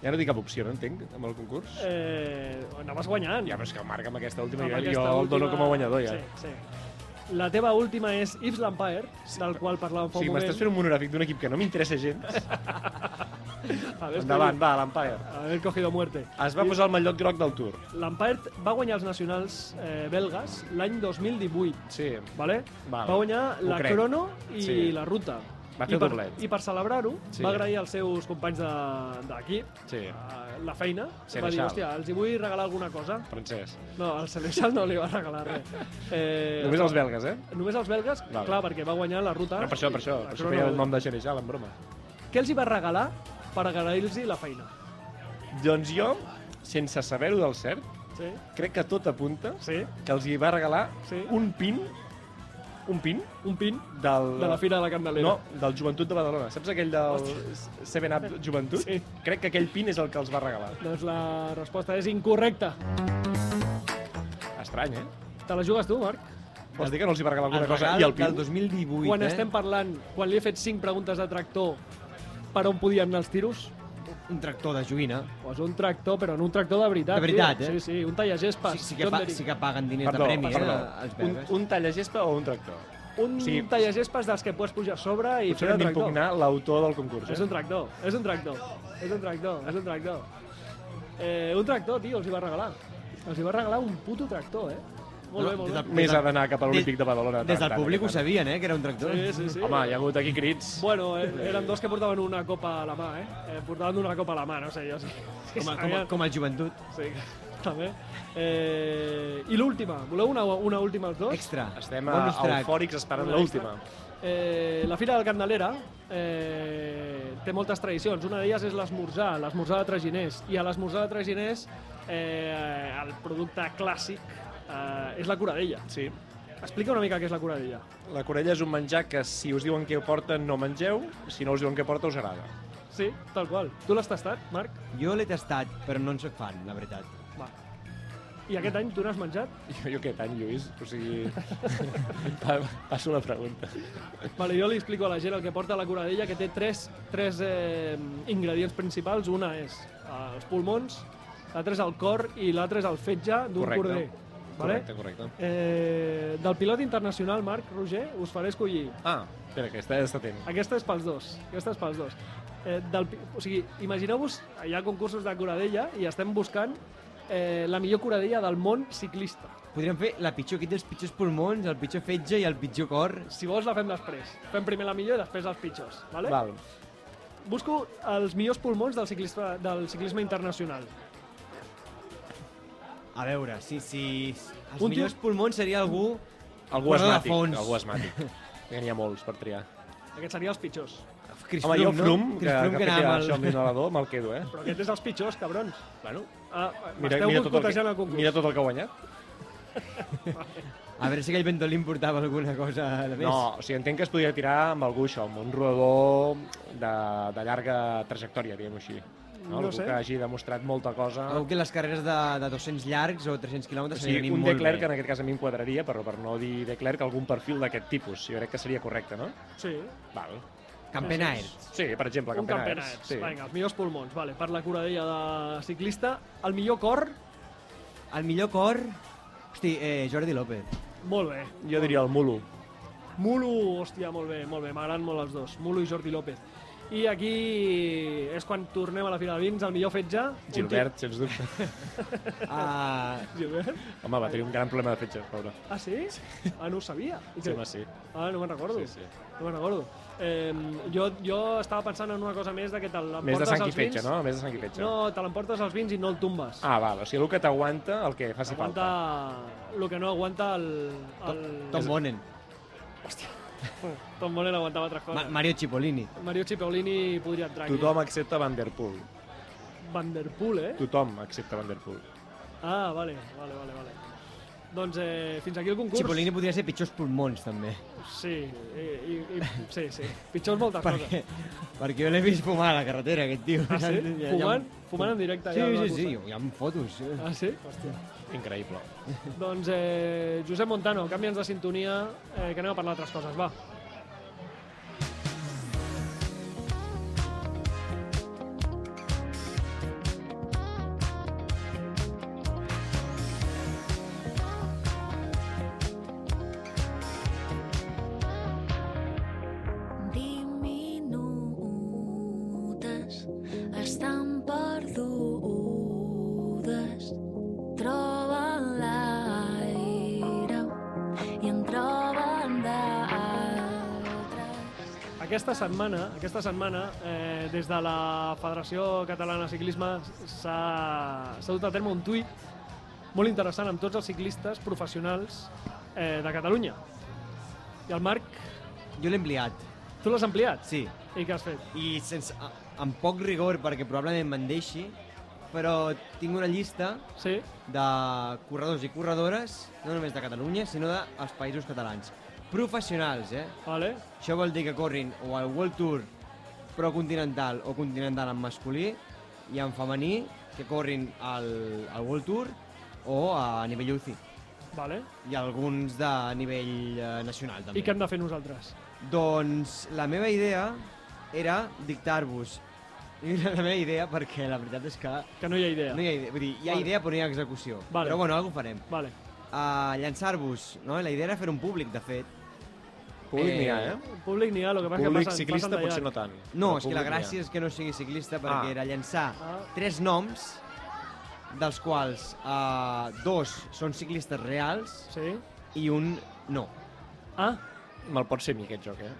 Speaker 2: Ja no tinc cap opció, no entenc, amb el concurs.
Speaker 1: Eh, anaves guanyant.
Speaker 2: Ja, però és que el Marc amb aquesta última,
Speaker 1: Amb
Speaker 2: jo,
Speaker 1: aquesta
Speaker 2: jo el dono
Speaker 1: última-
Speaker 2: com a guanyador, ja.
Speaker 1: Sí, sí. La teva última és Yves Lampaert, del qual parlàvem
Speaker 2: O
Speaker 1: fa un
Speaker 2: sigui,
Speaker 1: moment.
Speaker 2: m'estàs fent un monogràfic d'un equip que no m'interessa gens.
Speaker 1: A veure,
Speaker 2: Endavant, va, l'Empire.
Speaker 1: Haver cogido muerte.
Speaker 2: Es va posar el mallot groc del Tour.
Speaker 1: Lampaert va guanyar els nacionals eh, belgues l'any 2018,
Speaker 2: Sí.
Speaker 1: vale?
Speaker 2: Val.
Speaker 1: va guanyar
Speaker 2: Ho
Speaker 1: la
Speaker 2: crec.
Speaker 1: crono i
Speaker 2: Sí.
Speaker 1: la ruta.
Speaker 2: Va fer
Speaker 1: I per,
Speaker 2: doblet.
Speaker 1: i per celebrar-ho
Speaker 2: Sí.
Speaker 1: sí. va agrair als seus companys de- d'equip de,
Speaker 2: Sí.
Speaker 1: la feina.
Speaker 2: Sí,
Speaker 1: va dir,
Speaker 2: Reixal.
Speaker 1: hòstia, els hi vull regalar alguna cosa.
Speaker 2: Francesc.
Speaker 1: No, al Celestial no li va regalar
Speaker 2: <laughs>
Speaker 1: res. Eh,
Speaker 2: Només els belgues, eh?
Speaker 1: Només als belgues,
Speaker 2: Vale.
Speaker 1: vale. clar, perquè va guanyar la ruta.
Speaker 2: No, per això, per això.
Speaker 1: La
Speaker 2: Per això
Speaker 1: crono-
Speaker 2: feia el nom de Xerejal, en broma.
Speaker 1: Què els hi va regalar per agrair-los la feina?
Speaker 2: Doncs jo, sense saber-ho del cert,
Speaker 1: Sí?
Speaker 2: crec que tot apunta
Speaker 1: Sí?
Speaker 2: que els hi va regalar
Speaker 1: Sí.
Speaker 2: un pin, un pin
Speaker 1: Un pin
Speaker 2: del...
Speaker 1: de la Fira de la Candelera.
Speaker 2: No, del Joventut de Badalona. Saps aquell del 7 Up Joventut?
Speaker 1: Sí.
Speaker 2: Crec que aquell pin és el que els va regalar.
Speaker 1: Doncs la resposta és incorrecta.
Speaker 2: Estrany, eh?
Speaker 1: Te la jugues tu, Marc?
Speaker 2: Vols dir que no els hi va regalar alguna cosa
Speaker 3: regal
Speaker 2: i el
Speaker 3: del
Speaker 2: pin?
Speaker 3: 2018,
Speaker 1: quan
Speaker 3: eh?
Speaker 1: estem parlant, quan li he fet 5 preguntes de tractor, per on podien anar els tiros?
Speaker 3: Un tractor de joïna.
Speaker 1: Pues un tractor, però no un tractor de veritat.
Speaker 3: De veritat,
Speaker 1: tio.
Speaker 3: eh?
Speaker 1: Sí, sí, un tallagespa.
Speaker 3: Sí, sí, que pa, sí que paguen diners de premi,
Speaker 2: perdó.
Speaker 3: eh, als
Speaker 2: Un,
Speaker 3: belgues.
Speaker 2: un tallagespa o un tractor?
Speaker 1: Un
Speaker 2: Sí.
Speaker 1: sí. tallagespa és dels que pots pujar a sobre i
Speaker 2: Potser
Speaker 1: fer
Speaker 2: hem
Speaker 1: de tractor.
Speaker 2: d'impugnar l'autor del concurs. eh?
Speaker 1: És un tractor, és un tractor, és un tractor, és un tractor. Eh, un tractor, tio, els hi va regalar. Els hi va regalar un puto tractor, eh? Molt bé, molt
Speaker 3: Des del-
Speaker 1: bé.
Speaker 2: Més
Speaker 3: des del-
Speaker 2: ha d'anar cap a l'Olímpic de Badalona,
Speaker 3: Des
Speaker 2: tant,
Speaker 3: del
Speaker 2: tant,
Speaker 3: públic ho
Speaker 2: tant.
Speaker 3: sabien, eh, que era un tractor.
Speaker 1: Sí, sí, sí.
Speaker 2: Home, hi ha hagut aquí crits.
Speaker 1: Bueno, eh, eren dos que portaven una copa a la mà, eh? eh portaven una copa a la mà, no sé, jo sí.
Speaker 3: Com, a, com, a, com el joventut.
Speaker 1: Sí, <laughs> també. Eh, I l'última, voleu una, una última els dos?
Speaker 3: Extra.
Speaker 2: Estem a,
Speaker 3: Bonus track.
Speaker 2: eufòrics esperant
Speaker 1: Una
Speaker 2: l'última.
Speaker 1: Eh, la Fira del Candelera eh, té moltes tradicions. Una d'elles és l'esmorzar, l'esmorzar de traginers. I a l'esmorzar de traginers eh, el producte clàssic eh, és la curadella.
Speaker 2: Sí.
Speaker 1: Explica una mica què és la curadella.
Speaker 2: La corella és un menjar que si us diuen què porta no mengeu, si no us diuen què porta us agrada. <laughs>
Speaker 1: Sí, tal qual. Tu l'has tastat, Marc?
Speaker 3: Jo l'he tastat, però no en soc fan, la veritat.
Speaker 1: Va. I aquest any tu n'has menjat?
Speaker 2: Jo, jo què tant, Lluís? O sigui... pa- Passo la pregunta.
Speaker 1: Vale, jo li explico a la gent el que porta la curadella, que té tres, tres eh, ingredients principals. Una és eh, els pulmons, l'altra és el cor i l'altra és el fetge d'un
Speaker 2: Correcte.
Speaker 1: corder. Vale?
Speaker 2: Correcte, correcte.
Speaker 1: Eh, del pilot internacional, Marc Roger, us faré escollir.
Speaker 2: Ah, espera, que està, està atent.
Speaker 1: Aquesta és pels dos. Aquesta és pels dos. Eh, del, pi- o sigui, imagineu-vos, hi ha concursos de curadella i estem buscant eh, la millor curadella del món ciclista.
Speaker 3: Podríem fer la pitjor kit dels pitjors pulmons, el pitjor fetge i el pitjor cor.
Speaker 1: Si vols, la fem després. Fem primer la millor i després els pitjors. Vale?
Speaker 2: Val.
Speaker 1: Busco els millors pulmons del ciclisme, del ciclisme internacional.
Speaker 3: A veure, si... si els
Speaker 1: Un tio-
Speaker 3: millors pulmons seria algú...
Speaker 2: Algú
Speaker 3: Corona de
Speaker 2: asmàtic.
Speaker 3: fons.
Speaker 2: Algú asmàtic. N'hi ha molts per triar.
Speaker 1: Aquests serien els pitjors.
Speaker 3: Chris
Speaker 2: Home, jo Frum,
Speaker 3: no?
Speaker 2: que,
Speaker 3: Chris Froome
Speaker 2: que, que
Speaker 3: anava
Speaker 2: feia
Speaker 3: amb el-
Speaker 2: això amb l'inhalador, me'l quedo, eh?
Speaker 1: Però aquests és els pitjors, cabrons.
Speaker 2: Bueno,
Speaker 1: Ah,
Speaker 2: mira,
Speaker 1: Esteu
Speaker 2: mira, tot el que,
Speaker 1: boicotejant el concurs.
Speaker 2: mira tot el que ha guanyat.
Speaker 3: A veure si aquell ventolín portava alguna cosa de més.
Speaker 2: No, o sigui, entenc que es podria tirar amb algú això, amb un rodador de, de llarga trajectòria, diguem-ho així.
Speaker 1: No
Speaker 2: No, algú
Speaker 1: sé.
Speaker 2: que hagi demostrat molta cosa.
Speaker 3: Algú que les carreres de, de 200 llargs o 300
Speaker 2: O
Speaker 3: quilòmetres se li
Speaker 2: sigui,
Speaker 3: anin
Speaker 2: un
Speaker 3: molt
Speaker 2: Declerc, que
Speaker 3: bé.
Speaker 2: en aquest cas a mi em quadraria, però per no dir Declerc, algun perfil d'aquest tipus. Jo crec que seria correcte, no?
Speaker 1: Sí.
Speaker 2: Val.
Speaker 3: Campenaire.
Speaker 2: Sí, per exemple,
Speaker 1: Un
Speaker 2: Campenaers.
Speaker 1: campeonato. Sí. Vinga, els millors pulmons. Vale, per la curadella de ciclista. El millor cor,
Speaker 3: El millor cor... Hosti, eh, Jordi López.
Speaker 1: molt bé.
Speaker 2: Jo diria el Mulu.
Speaker 1: Mulu, hòstia, molt bé, molt bé. M'agraden molt els dos. Mulu i Jordi López. I aquí és quan tornem a la Fira de Vins, el millor fetge. un tio-
Speaker 2: Gilbert, sens dubte. <laughs>
Speaker 3: Ah,
Speaker 1: Gilbert?
Speaker 2: Home, va tenir un gran problema de fetge, pobre.
Speaker 1: Ah, sí? Ah, no ho sabia. I
Speaker 2: Sí,
Speaker 1: què-
Speaker 2: home, sí.
Speaker 1: Ah, no me'n recordo.
Speaker 2: Sí, sí.
Speaker 1: No me'n recordo. Eh, jo, jo estava pensant en una cosa més de que te
Speaker 2: Més de
Speaker 1: l'emportes
Speaker 2: sang i
Speaker 1: als vins...
Speaker 2: fetge, no? Més de sang i fetge.
Speaker 1: No, te l'emportes als vins i no el tombes.
Speaker 2: Ah, val. O sigui, el que t'aguanta, el que faci
Speaker 1: aguanta
Speaker 2: falta.
Speaker 1: el que no aguanta el... el...
Speaker 3: Tom Bonen.
Speaker 1: Tom Bonen aguantava altres
Speaker 3: Ma
Speaker 1: coses.
Speaker 3: Mario Cipollini.
Speaker 1: Mario Cipollini podria entrar
Speaker 2: Tothom excepte Van Der Poel.
Speaker 1: aquí. Van Der Poel, eh?
Speaker 2: Tothom excepte Van Der Poel.
Speaker 1: Ah, vale, vale, vale. vale. Doncs eh, fins aquí el concurs.
Speaker 3: Cipollini podria ser pitjors pulmons, també. <laughs>
Speaker 1: Sí, i, i, i, sí, sí. Pitjors moltes coses.
Speaker 3: <laughs> Perquè, perquè jo l'he vist fumar a la carretera, aquest tio.
Speaker 1: Ah, sí?
Speaker 3: Ja- ja-
Speaker 1: Fumant? Fumant en directe,
Speaker 3: Sí,
Speaker 1: ja, a la
Speaker 3: sí, sí,
Speaker 1: cursa.
Speaker 3: hi ha fotos. eh.
Speaker 1: Ah, sí? Hòstia.
Speaker 2: Increïble.
Speaker 1: Doncs eh, Josep Montano, canvia'ns de sintonia, eh, que anem a parlar d'altres coses, va.
Speaker 4: Diminutes estan perdudes, troben l'aire i en troben d'altres.
Speaker 1: aquesta setmana, aquesta setmana eh, des de la Federació Catalana de Ciclisme s'ha s'ha dut a terme un tuit molt interessant amb tots els ciclistes professionals eh, de Catalunya. I el Marc,
Speaker 3: Jo l'he ampliat,
Speaker 1: tu l'has ampliat?
Speaker 3: sí.
Speaker 1: I què has fet?
Speaker 3: I sense, a- amb poc rigor, perquè probablement me'n deixi, però tinc una llista
Speaker 1: Sí?
Speaker 3: de corredors i corredores, no només de Catalunya, sinó dels països catalans. Professionals, eh?
Speaker 1: Vale?
Speaker 3: Això vol dir que corrin o al World Tour però continental o continental en masculí i en femení que corrin al, al World Tour o a nivell UCI
Speaker 1: Vale?
Speaker 3: i alguns de nivell eh, nacional també.
Speaker 1: I què hem de fer nosaltres?
Speaker 3: Doncs la meva idea era dictar-vos <laughs> I la meva idea perquè la veritat és que
Speaker 1: Que no hi ha idea.
Speaker 3: no hi ha idea, vull dir, hi ha
Speaker 1: Vale.
Speaker 3: idea però no hi ha execució.
Speaker 1: Vale.
Speaker 3: Però bueno, alguna farem.
Speaker 1: Vale.
Speaker 3: Uh, Llançar-vos, no? La idea era fer un públic, de fet.
Speaker 2: Públic
Speaker 3: Eh,
Speaker 2: n'hi ha, eh?
Speaker 1: Públic n'hi ha, el que passa
Speaker 2: Públic
Speaker 1: que passen,
Speaker 2: ciclista
Speaker 1: passen de
Speaker 2: potser
Speaker 1: llarg.
Speaker 2: no tant.
Speaker 3: No,
Speaker 2: però
Speaker 3: és que la
Speaker 2: públic n'hi ha.
Speaker 3: gràcia és que no sigui ciclista perquè
Speaker 2: Ah.
Speaker 3: era llançar
Speaker 1: Ah.
Speaker 3: tres noms dels quals eh, dos són ciclistes reals
Speaker 1: Sí?
Speaker 3: i un no.
Speaker 1: Ah,
Speaker 2: Me'l pot ser a mi, aquest joc, eh?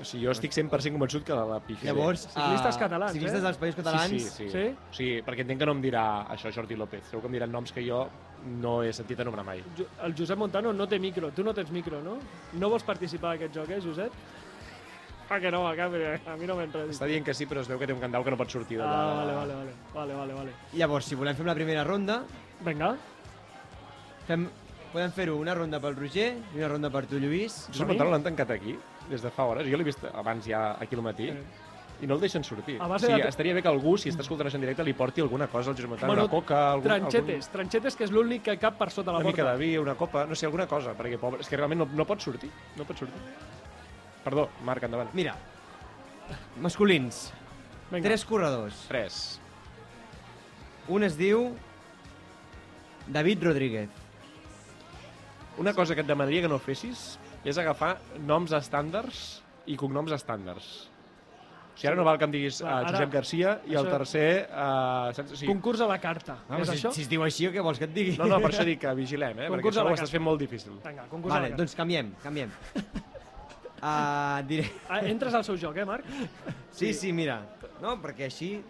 Speaker 2: O sigui, jo estic 100% convençut que la pifaré.
Speaker 3: Llavors,
Speaker 1: Ciclistes catalans,
Speaker 3: ciclistes
Speaker 1: eh?
Speaker 3: dels països catalans
Speaker 2: Sí, sí, sí.
Speaker 1: Sí?
Speaker 2: O sigui, perquè entenc que no em dirà això Jordi López. Segur que em diran noms que jo no he sentit anomenar mai.
Speaker 1: Jo- el Josep Montano no té micro, tu no tens micro, no? No vols participar en aquest joc, eh, Josep? Ah, que no, a, mi, a mi no m'entres.
Speaker 2: Està dient que sí, però es veu que té un candau que no pot sortir d'allà.
Speaker 1: Ah, vale, vale, vale, vale, vale, vale.
Speaker 3: Llavors, si volem fer la primera ronda,
Speaker 1: Vinga,
Speaker 3: fem, podem fer-ho una ronda pel Roger i una ronda per tu, Lluís.
Speaker 2: Josep Montano l'han tancat aquí des de fa hores. Jo l'he vist abans ja aquí al matí.
Speaker 1: Sí.
Speaker 2: I no el deixen sortir.
Speaker 1: A
Speaker 2: O
Speaker 1: base
Speaker 2: sigui,
Speaker 1: de-
Speaker 2: estaria bé que algú, si està escoltant això en directe, li porti alguna cosa al Josep Montano,
Speaker 1: Bueno,
Speaker 2: una coca, algun,
Speaker 1: tranxetes, tranxetes que és l'únic que cap per sota la
Speaker 2: algun, una mica
Speaker 1: porta.
Speaker 2: de vi, una copa, no sé, alguna cosa, perquè pobre, és que realment no, no pot sortir, no pot sortir. Perdó, Marc, endavant.
Speaker 3: Mira, masculins,
Speaker 1: Vinga.
Speaker 3: tres corredors.
Speaker 2: 3.
Speaker 3: Un es diu David Rodríguez.
Speaker 2: Una cosa que et demanaria que no fessis és agafar noms estàndards i cognoms estàndards. O sigui, ara no val que em diguis
Speaker 1: Clar,
Speaker 2: uh,
Speaker 1: ara-
Speaker 2: Josep Garcia i el
Speaker 1: això-
Speaker 2: tercer... Uh, saps? O sigui,
Speaker 1: Concurs a la carta,
Speaker 2: Ah,
Speaker 1: és
Speaker 3: Vamos, si,
Speaker 1: això?
Speaker 3: si es diu així, què vols que et digui?
Speaker 2: no, no, per això dic que vigilem, eh? Perquè
Speaker 1: Concurs a
Speaker 2: això
Speaker 1: la
Speaker 2: ho
Speaker 1: casa.
Speaker 2: estàs fent molt difícil.
Speaker 1: Vinga, concurs a la
Speaker 3: Vale,
Speaker 1: carta.
Speaker 3: doncs canviem, canviem. Uh, diré...
Speaker 1: Ah, entres al seu joc, eh, Marc?
Speaker 3: Sí, sí, mira. No, perquè així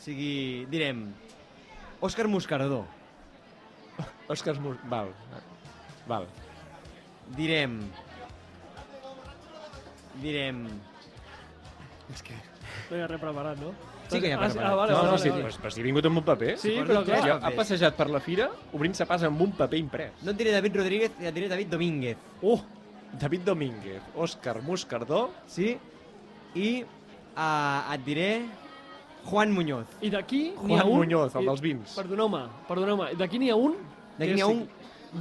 Speaker 3: sigui... Direm... Òscar Moscardó.
Speaker 2: Òscar Mur... Val. Val.
Speaker 3: Direm... Direm...
Speaker 1: No hi ha res preparat, no?
Speaker 3: Sí que hi ha
Speaker 1: Ah,
Speaker 3: preparat.
Speaker 1: Ah, vale,
Speaker 2: no,
Speaker 1: vale,
Speaker 2: no,
Speaker 1: vale,
Speaker 2: sí,
Speaker 1: vale.
Speaker 2: Però, però si he vingut amb un paper.
Speaker 1: Sí,
Speaker 3: Suposo
Speaker 1: però
Speaker 3: que
Speaker 1: clar,
Speaker 2: Ja, ha
Speaker 3: papers.
Speaker 2: passejat per la fira obrint-se pas amb un paper imprès.
Speaker 3: No et diré David Rodríguez, ja et diré David Domínguez.
Speaker 2: Uh! David Domínguez, Òscar Moscardó...
Speaker 3: Sí? I uh, et diré Juan Muñoz.
Speaker 1: I d'aquí n'hi ha
Speaker 2: Juan
Speaker 1: un...
Speaker 2: Muñoz, el
Speaker 1: i-
Speaker 2: dels vins.
Speaker 1: Perdoneu-me, perdoneu-me. D'aquí n'hi ha un... que
Speaker 3: D'aquí n'hi ha
Speaker 1: és-
Speaker 3: un...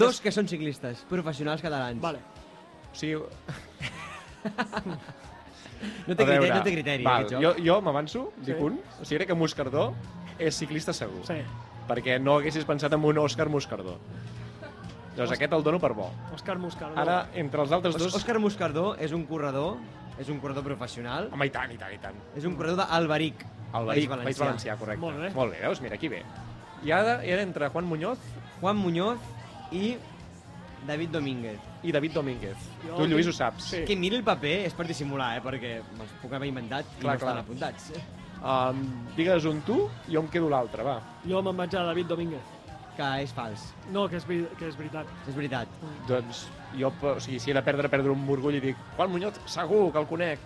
Speaker 3: Dos que són ciclistes, professionals catalans.
Speaker 1: Vale.
Speaker 2: O sigui,
Speaker 3: No té
Speaker 2: A veure,
Speaker 3: criteri, no té criteri
Speaker 2: Val,
Speaker 3: aquest joc.
Speaker 2: jo jo m'avanço, dic
Speaker 1: Sí.
Speaker 2: un. O sigui, crec que Moscardó és ciclista segur.
Speaker 1: Sí.
Speaker 2: Perquè no haguessis pensat en un Òscar Moscardó. Doncs aquest el dono per bo.
Speaker 1: Òscar Moscardó.
Speaker 2: Ara, entre els altres dos...
Speaker 3: Òscar Moscardó és un corredor, és un corredor professional,
Speaker 2: Home, i tant, i tant, i tant.
Speaker 3: és un corredor d'Alberic,
Speaker 2: El País Valencià, País Valencià correcte.
Speaker 1: Molt bé.
Speaker 2: Molt bé, veus? Mira, aquí ve. I ara era entre Juan Muñoz
Speaker 3: Juan Muñoz i David Domínguez.
Speaker 2: i David Domínguez.
Speaker 1: Jo
Speaker 2: tu, Lluís,
Speaker 1: tinc-
Speaker 2: ho saps.
Speaker 1: Sí.
Speaker 3: Que miri el paper és per dissimular, eh? perquè me'ls puc haver inventat i
Speaker 2: Clar,
Speaker 3: no estan
Speaker 2: clar.
Speaker 3: apuntats.
Speaker 2: Um, digues un tu i jo em quedo l'altre, va.
Speaker 1: Jo me'n vaig a David Domínguez.
Speaker 3: Que és fals,
Speaker 1: No, que és, vi- que és veritat.
Speaker 3: és veritat.
Speaker 2: Doncs jo, pe- o sigui, si he de perdre, perdre un orgull i dic Juan Muñoz, segur que el conec.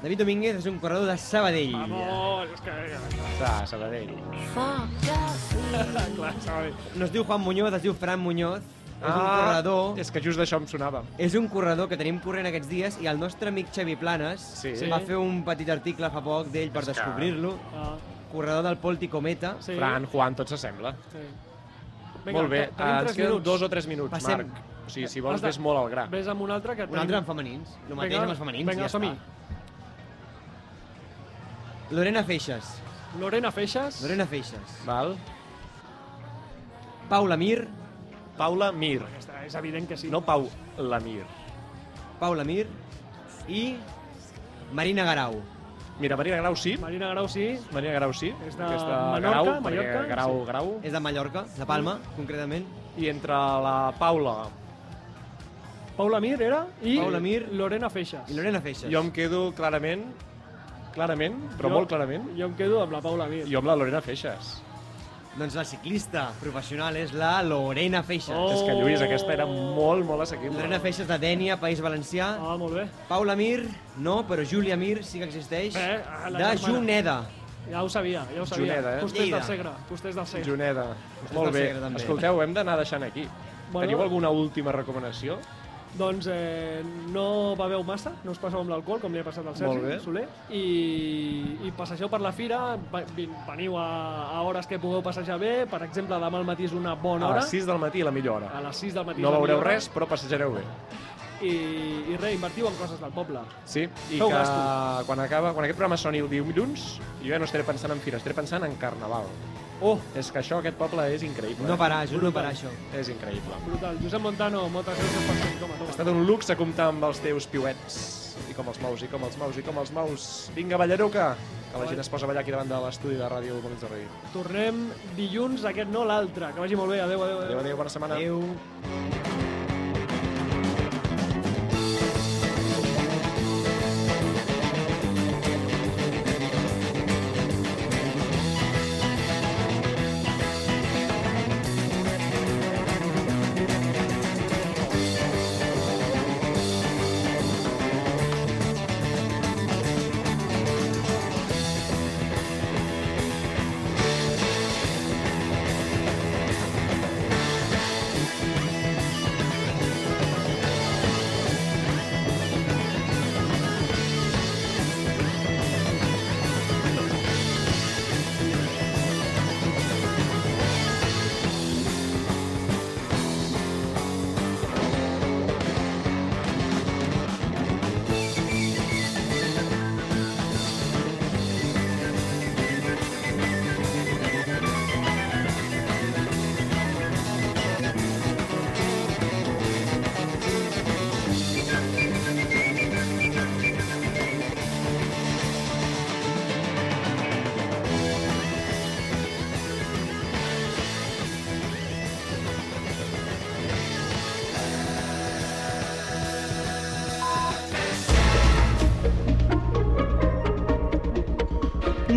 Speaker 3: David Domínguez és un corredor de Sabadell.
Speaker 1: Vamos, és que... eh,
Speaker 2: Sa, Sabadell.
Speaker 4: Foc de fi,
Speaker 1: Clar, sabe.
Speaker 3: No es diu Juan Muñoz, es diu Fran Muñoz. És un
Speaker 2: Ah,
Speaker 3: corredor... És...
Speaker 2: És que just d'això em sonava.
Speaker 3: un corredor que tenim corrent aquests dies i el nostre amic Xavi Planes
Speaker 2: Sí.
Speaker 3: va fer un petit article fa poc d'ell per
Speaker 2: És que-
Speaker 3: descobrir-lo.
Speaker 1: Ah,
Speaker 3: Corredor del Polti Cometa.
Speaker 1: sí.
Speaker 2: Fran, Juan, tot s'assembla.
Speaker 1: Sí.
Speaker 2: Molt bé, Ah,
Speaker 1: te- tenim
Speaker 2: ens
Speaker 1: tres
Speaker 2: queden
Speaker 1: minuts.
Speaker 2: dos o tres minuts,
Speaker 3: Passem.
Speaker 2: Marc. O sigui, si vols,
Speaker 1: Has de-
Speaker 2: ves molt al gra.
Speaker 1: Ves amb un altre que
Speaker 3: Un altre amb femenins. El mateix
Speaker 1: Vinga,
Speaker 3: amb els femenins.
Speaker 1: vinga,
Speaker 3: i ja
Speaker 1: som-hi.
Speaker 3: està. Lorena Feixas.
Speaker 1: Lorena Feixas.
Speaker 3: Lorena Feixas.
Speaker 2: Val?
Speaker 3: Paula Mir.
Speaker 2: Paula Mir.
Speaker 1: Aquesta, és evident que sí.
Speaker 2: No Pau Lamir.
Speaker 3: Paula Mir. I Marina Garau.
Speaker 2: Mira, Marina Grau sí.
Speaker 1: Marina Grau sí.
Speaker 2: Marina Grau sí.
Speaker 1: És de Menorca,
Speaker 2: Grau, perquè
Speaker 1: Mallorca,
Speaker 2: Grau,
Speaker 1: sí.
Speaker 2: Grau.
Speaker 3: És de Mallorca, de Palma, concretament.
Speaker 2: I entre la Paula
Speaker 1: Paula Mir era i
Speaker 3: Paula Mir.
Speaker 1: Lorena Feixas.
Speaker 3: I Lorena Feixas.
Speaker 2: Jo em quedo clarament, clarament, però
Speaker 1: Jo-
Speaker 2: molt clarament,
Speaker 1: Jo em quedo amb la Paula Mir.
Speaker 2: jo amb la Lorena Feixas.
Speaker 3: Doncs la ciclista professional és la Lorena Feixas.
Speaker 1: Oh.
Speaker 2: És que, Lluís, aquesta era molt, molt assequible.
Speaker 3: Lorena Feixas de Dènia, País Valencià.
Speaker 1: Ah, molt bé.
Speaker 3: Paula Mir, no, però Júlia Mir sí que existeix.
Speaker 1: Eh, ah, la
Speaker 3: de
Speaker 1: germana.
Speaker 3: Juneda.
Speaker 1: Ja ho sabia, ja ho sabia.
Speaker 2: Juneda, eh?
Speaker 1: Costers
Speaker 3: Lleida.
Speaker 1: del Segre, Costers del Segre.
Speaker 2: Juneda,
Speaker 3: Vostè
Speaker 2: molt
Speaker 3: del
Speaker 2: bé.
Speaker 3: Segre, també.
Speaker 2: Escolteu, hem d'anar deixant aquí.
Speaker 1: Bueno.
Speaker 2: Teniu alguna última recomanació?
Speaker 1: Doncs eh, no beveu massa, no us passeu amb l'alcohol, com li ha passat al
Speaker 2: Molt
Speaker 1: Sergi
Speaker 2: bé.
Speaker 1: Soler, i, i passegeu per la fira, va- vin- veniu a, a hores que pugueu passejar bé, per exemple, demà al matí és una bona
Speaker 2: A
Speaker 1: hora,
Speaker 2: les 6 del matí, la millor
Speaker 1: a
Speaker 2: hora.
Speaker 1: les 6 del matí
Speaker 2: No
Speaker 1: és la
Speaker 2: veureu
Speaker 1: millor hora,
Speaker 2: res, però passejareu bé.
Speaker 1: i, i res, invertiu en coses del poble.
Speaker 2: Sí, i
Speaker 1: Feu
Speaker 2: que
Speaker 1: gasto.
Speaker 2: quan acaba, quan aquest programa soni el dilluns, jo ja no estaré pensant en fira, estaré pensant en carnaval.
Speaker 1: Oh,
Speaker 2: És que això, aquest poble, és increïble.
Speaker 3: No
Speaker 2: eh?
Speaker 3: parar, juro, no parar això.
Speaker 2: És increïble.
Speaker 1: brutal. Josep Montano, moltes gràcies per ser aquí. Toma,
Speaker 2: Ha
Speaker 1: toma.
Speaker 2: estat un luxe comptar amb els teus piuets. I com els maus, i com els maus, i com els maus. Vinga, ballaruca! Que la gent es posa a ballar aquí davant de l'estudi de ràdio Molins de Rei.
Speaker 1: Tornem dilluns, aquest no, l'altre. Que vagi molt bé, adeu, adeu,
Speaker 2: Adéu, adéu, bona setmana.
Speaker 3: Adéu.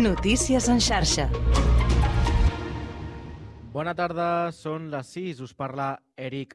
Speaker 5: Notícies en xarxa.
Speaker 6: Bona tarda, són les 6. Us parla Eric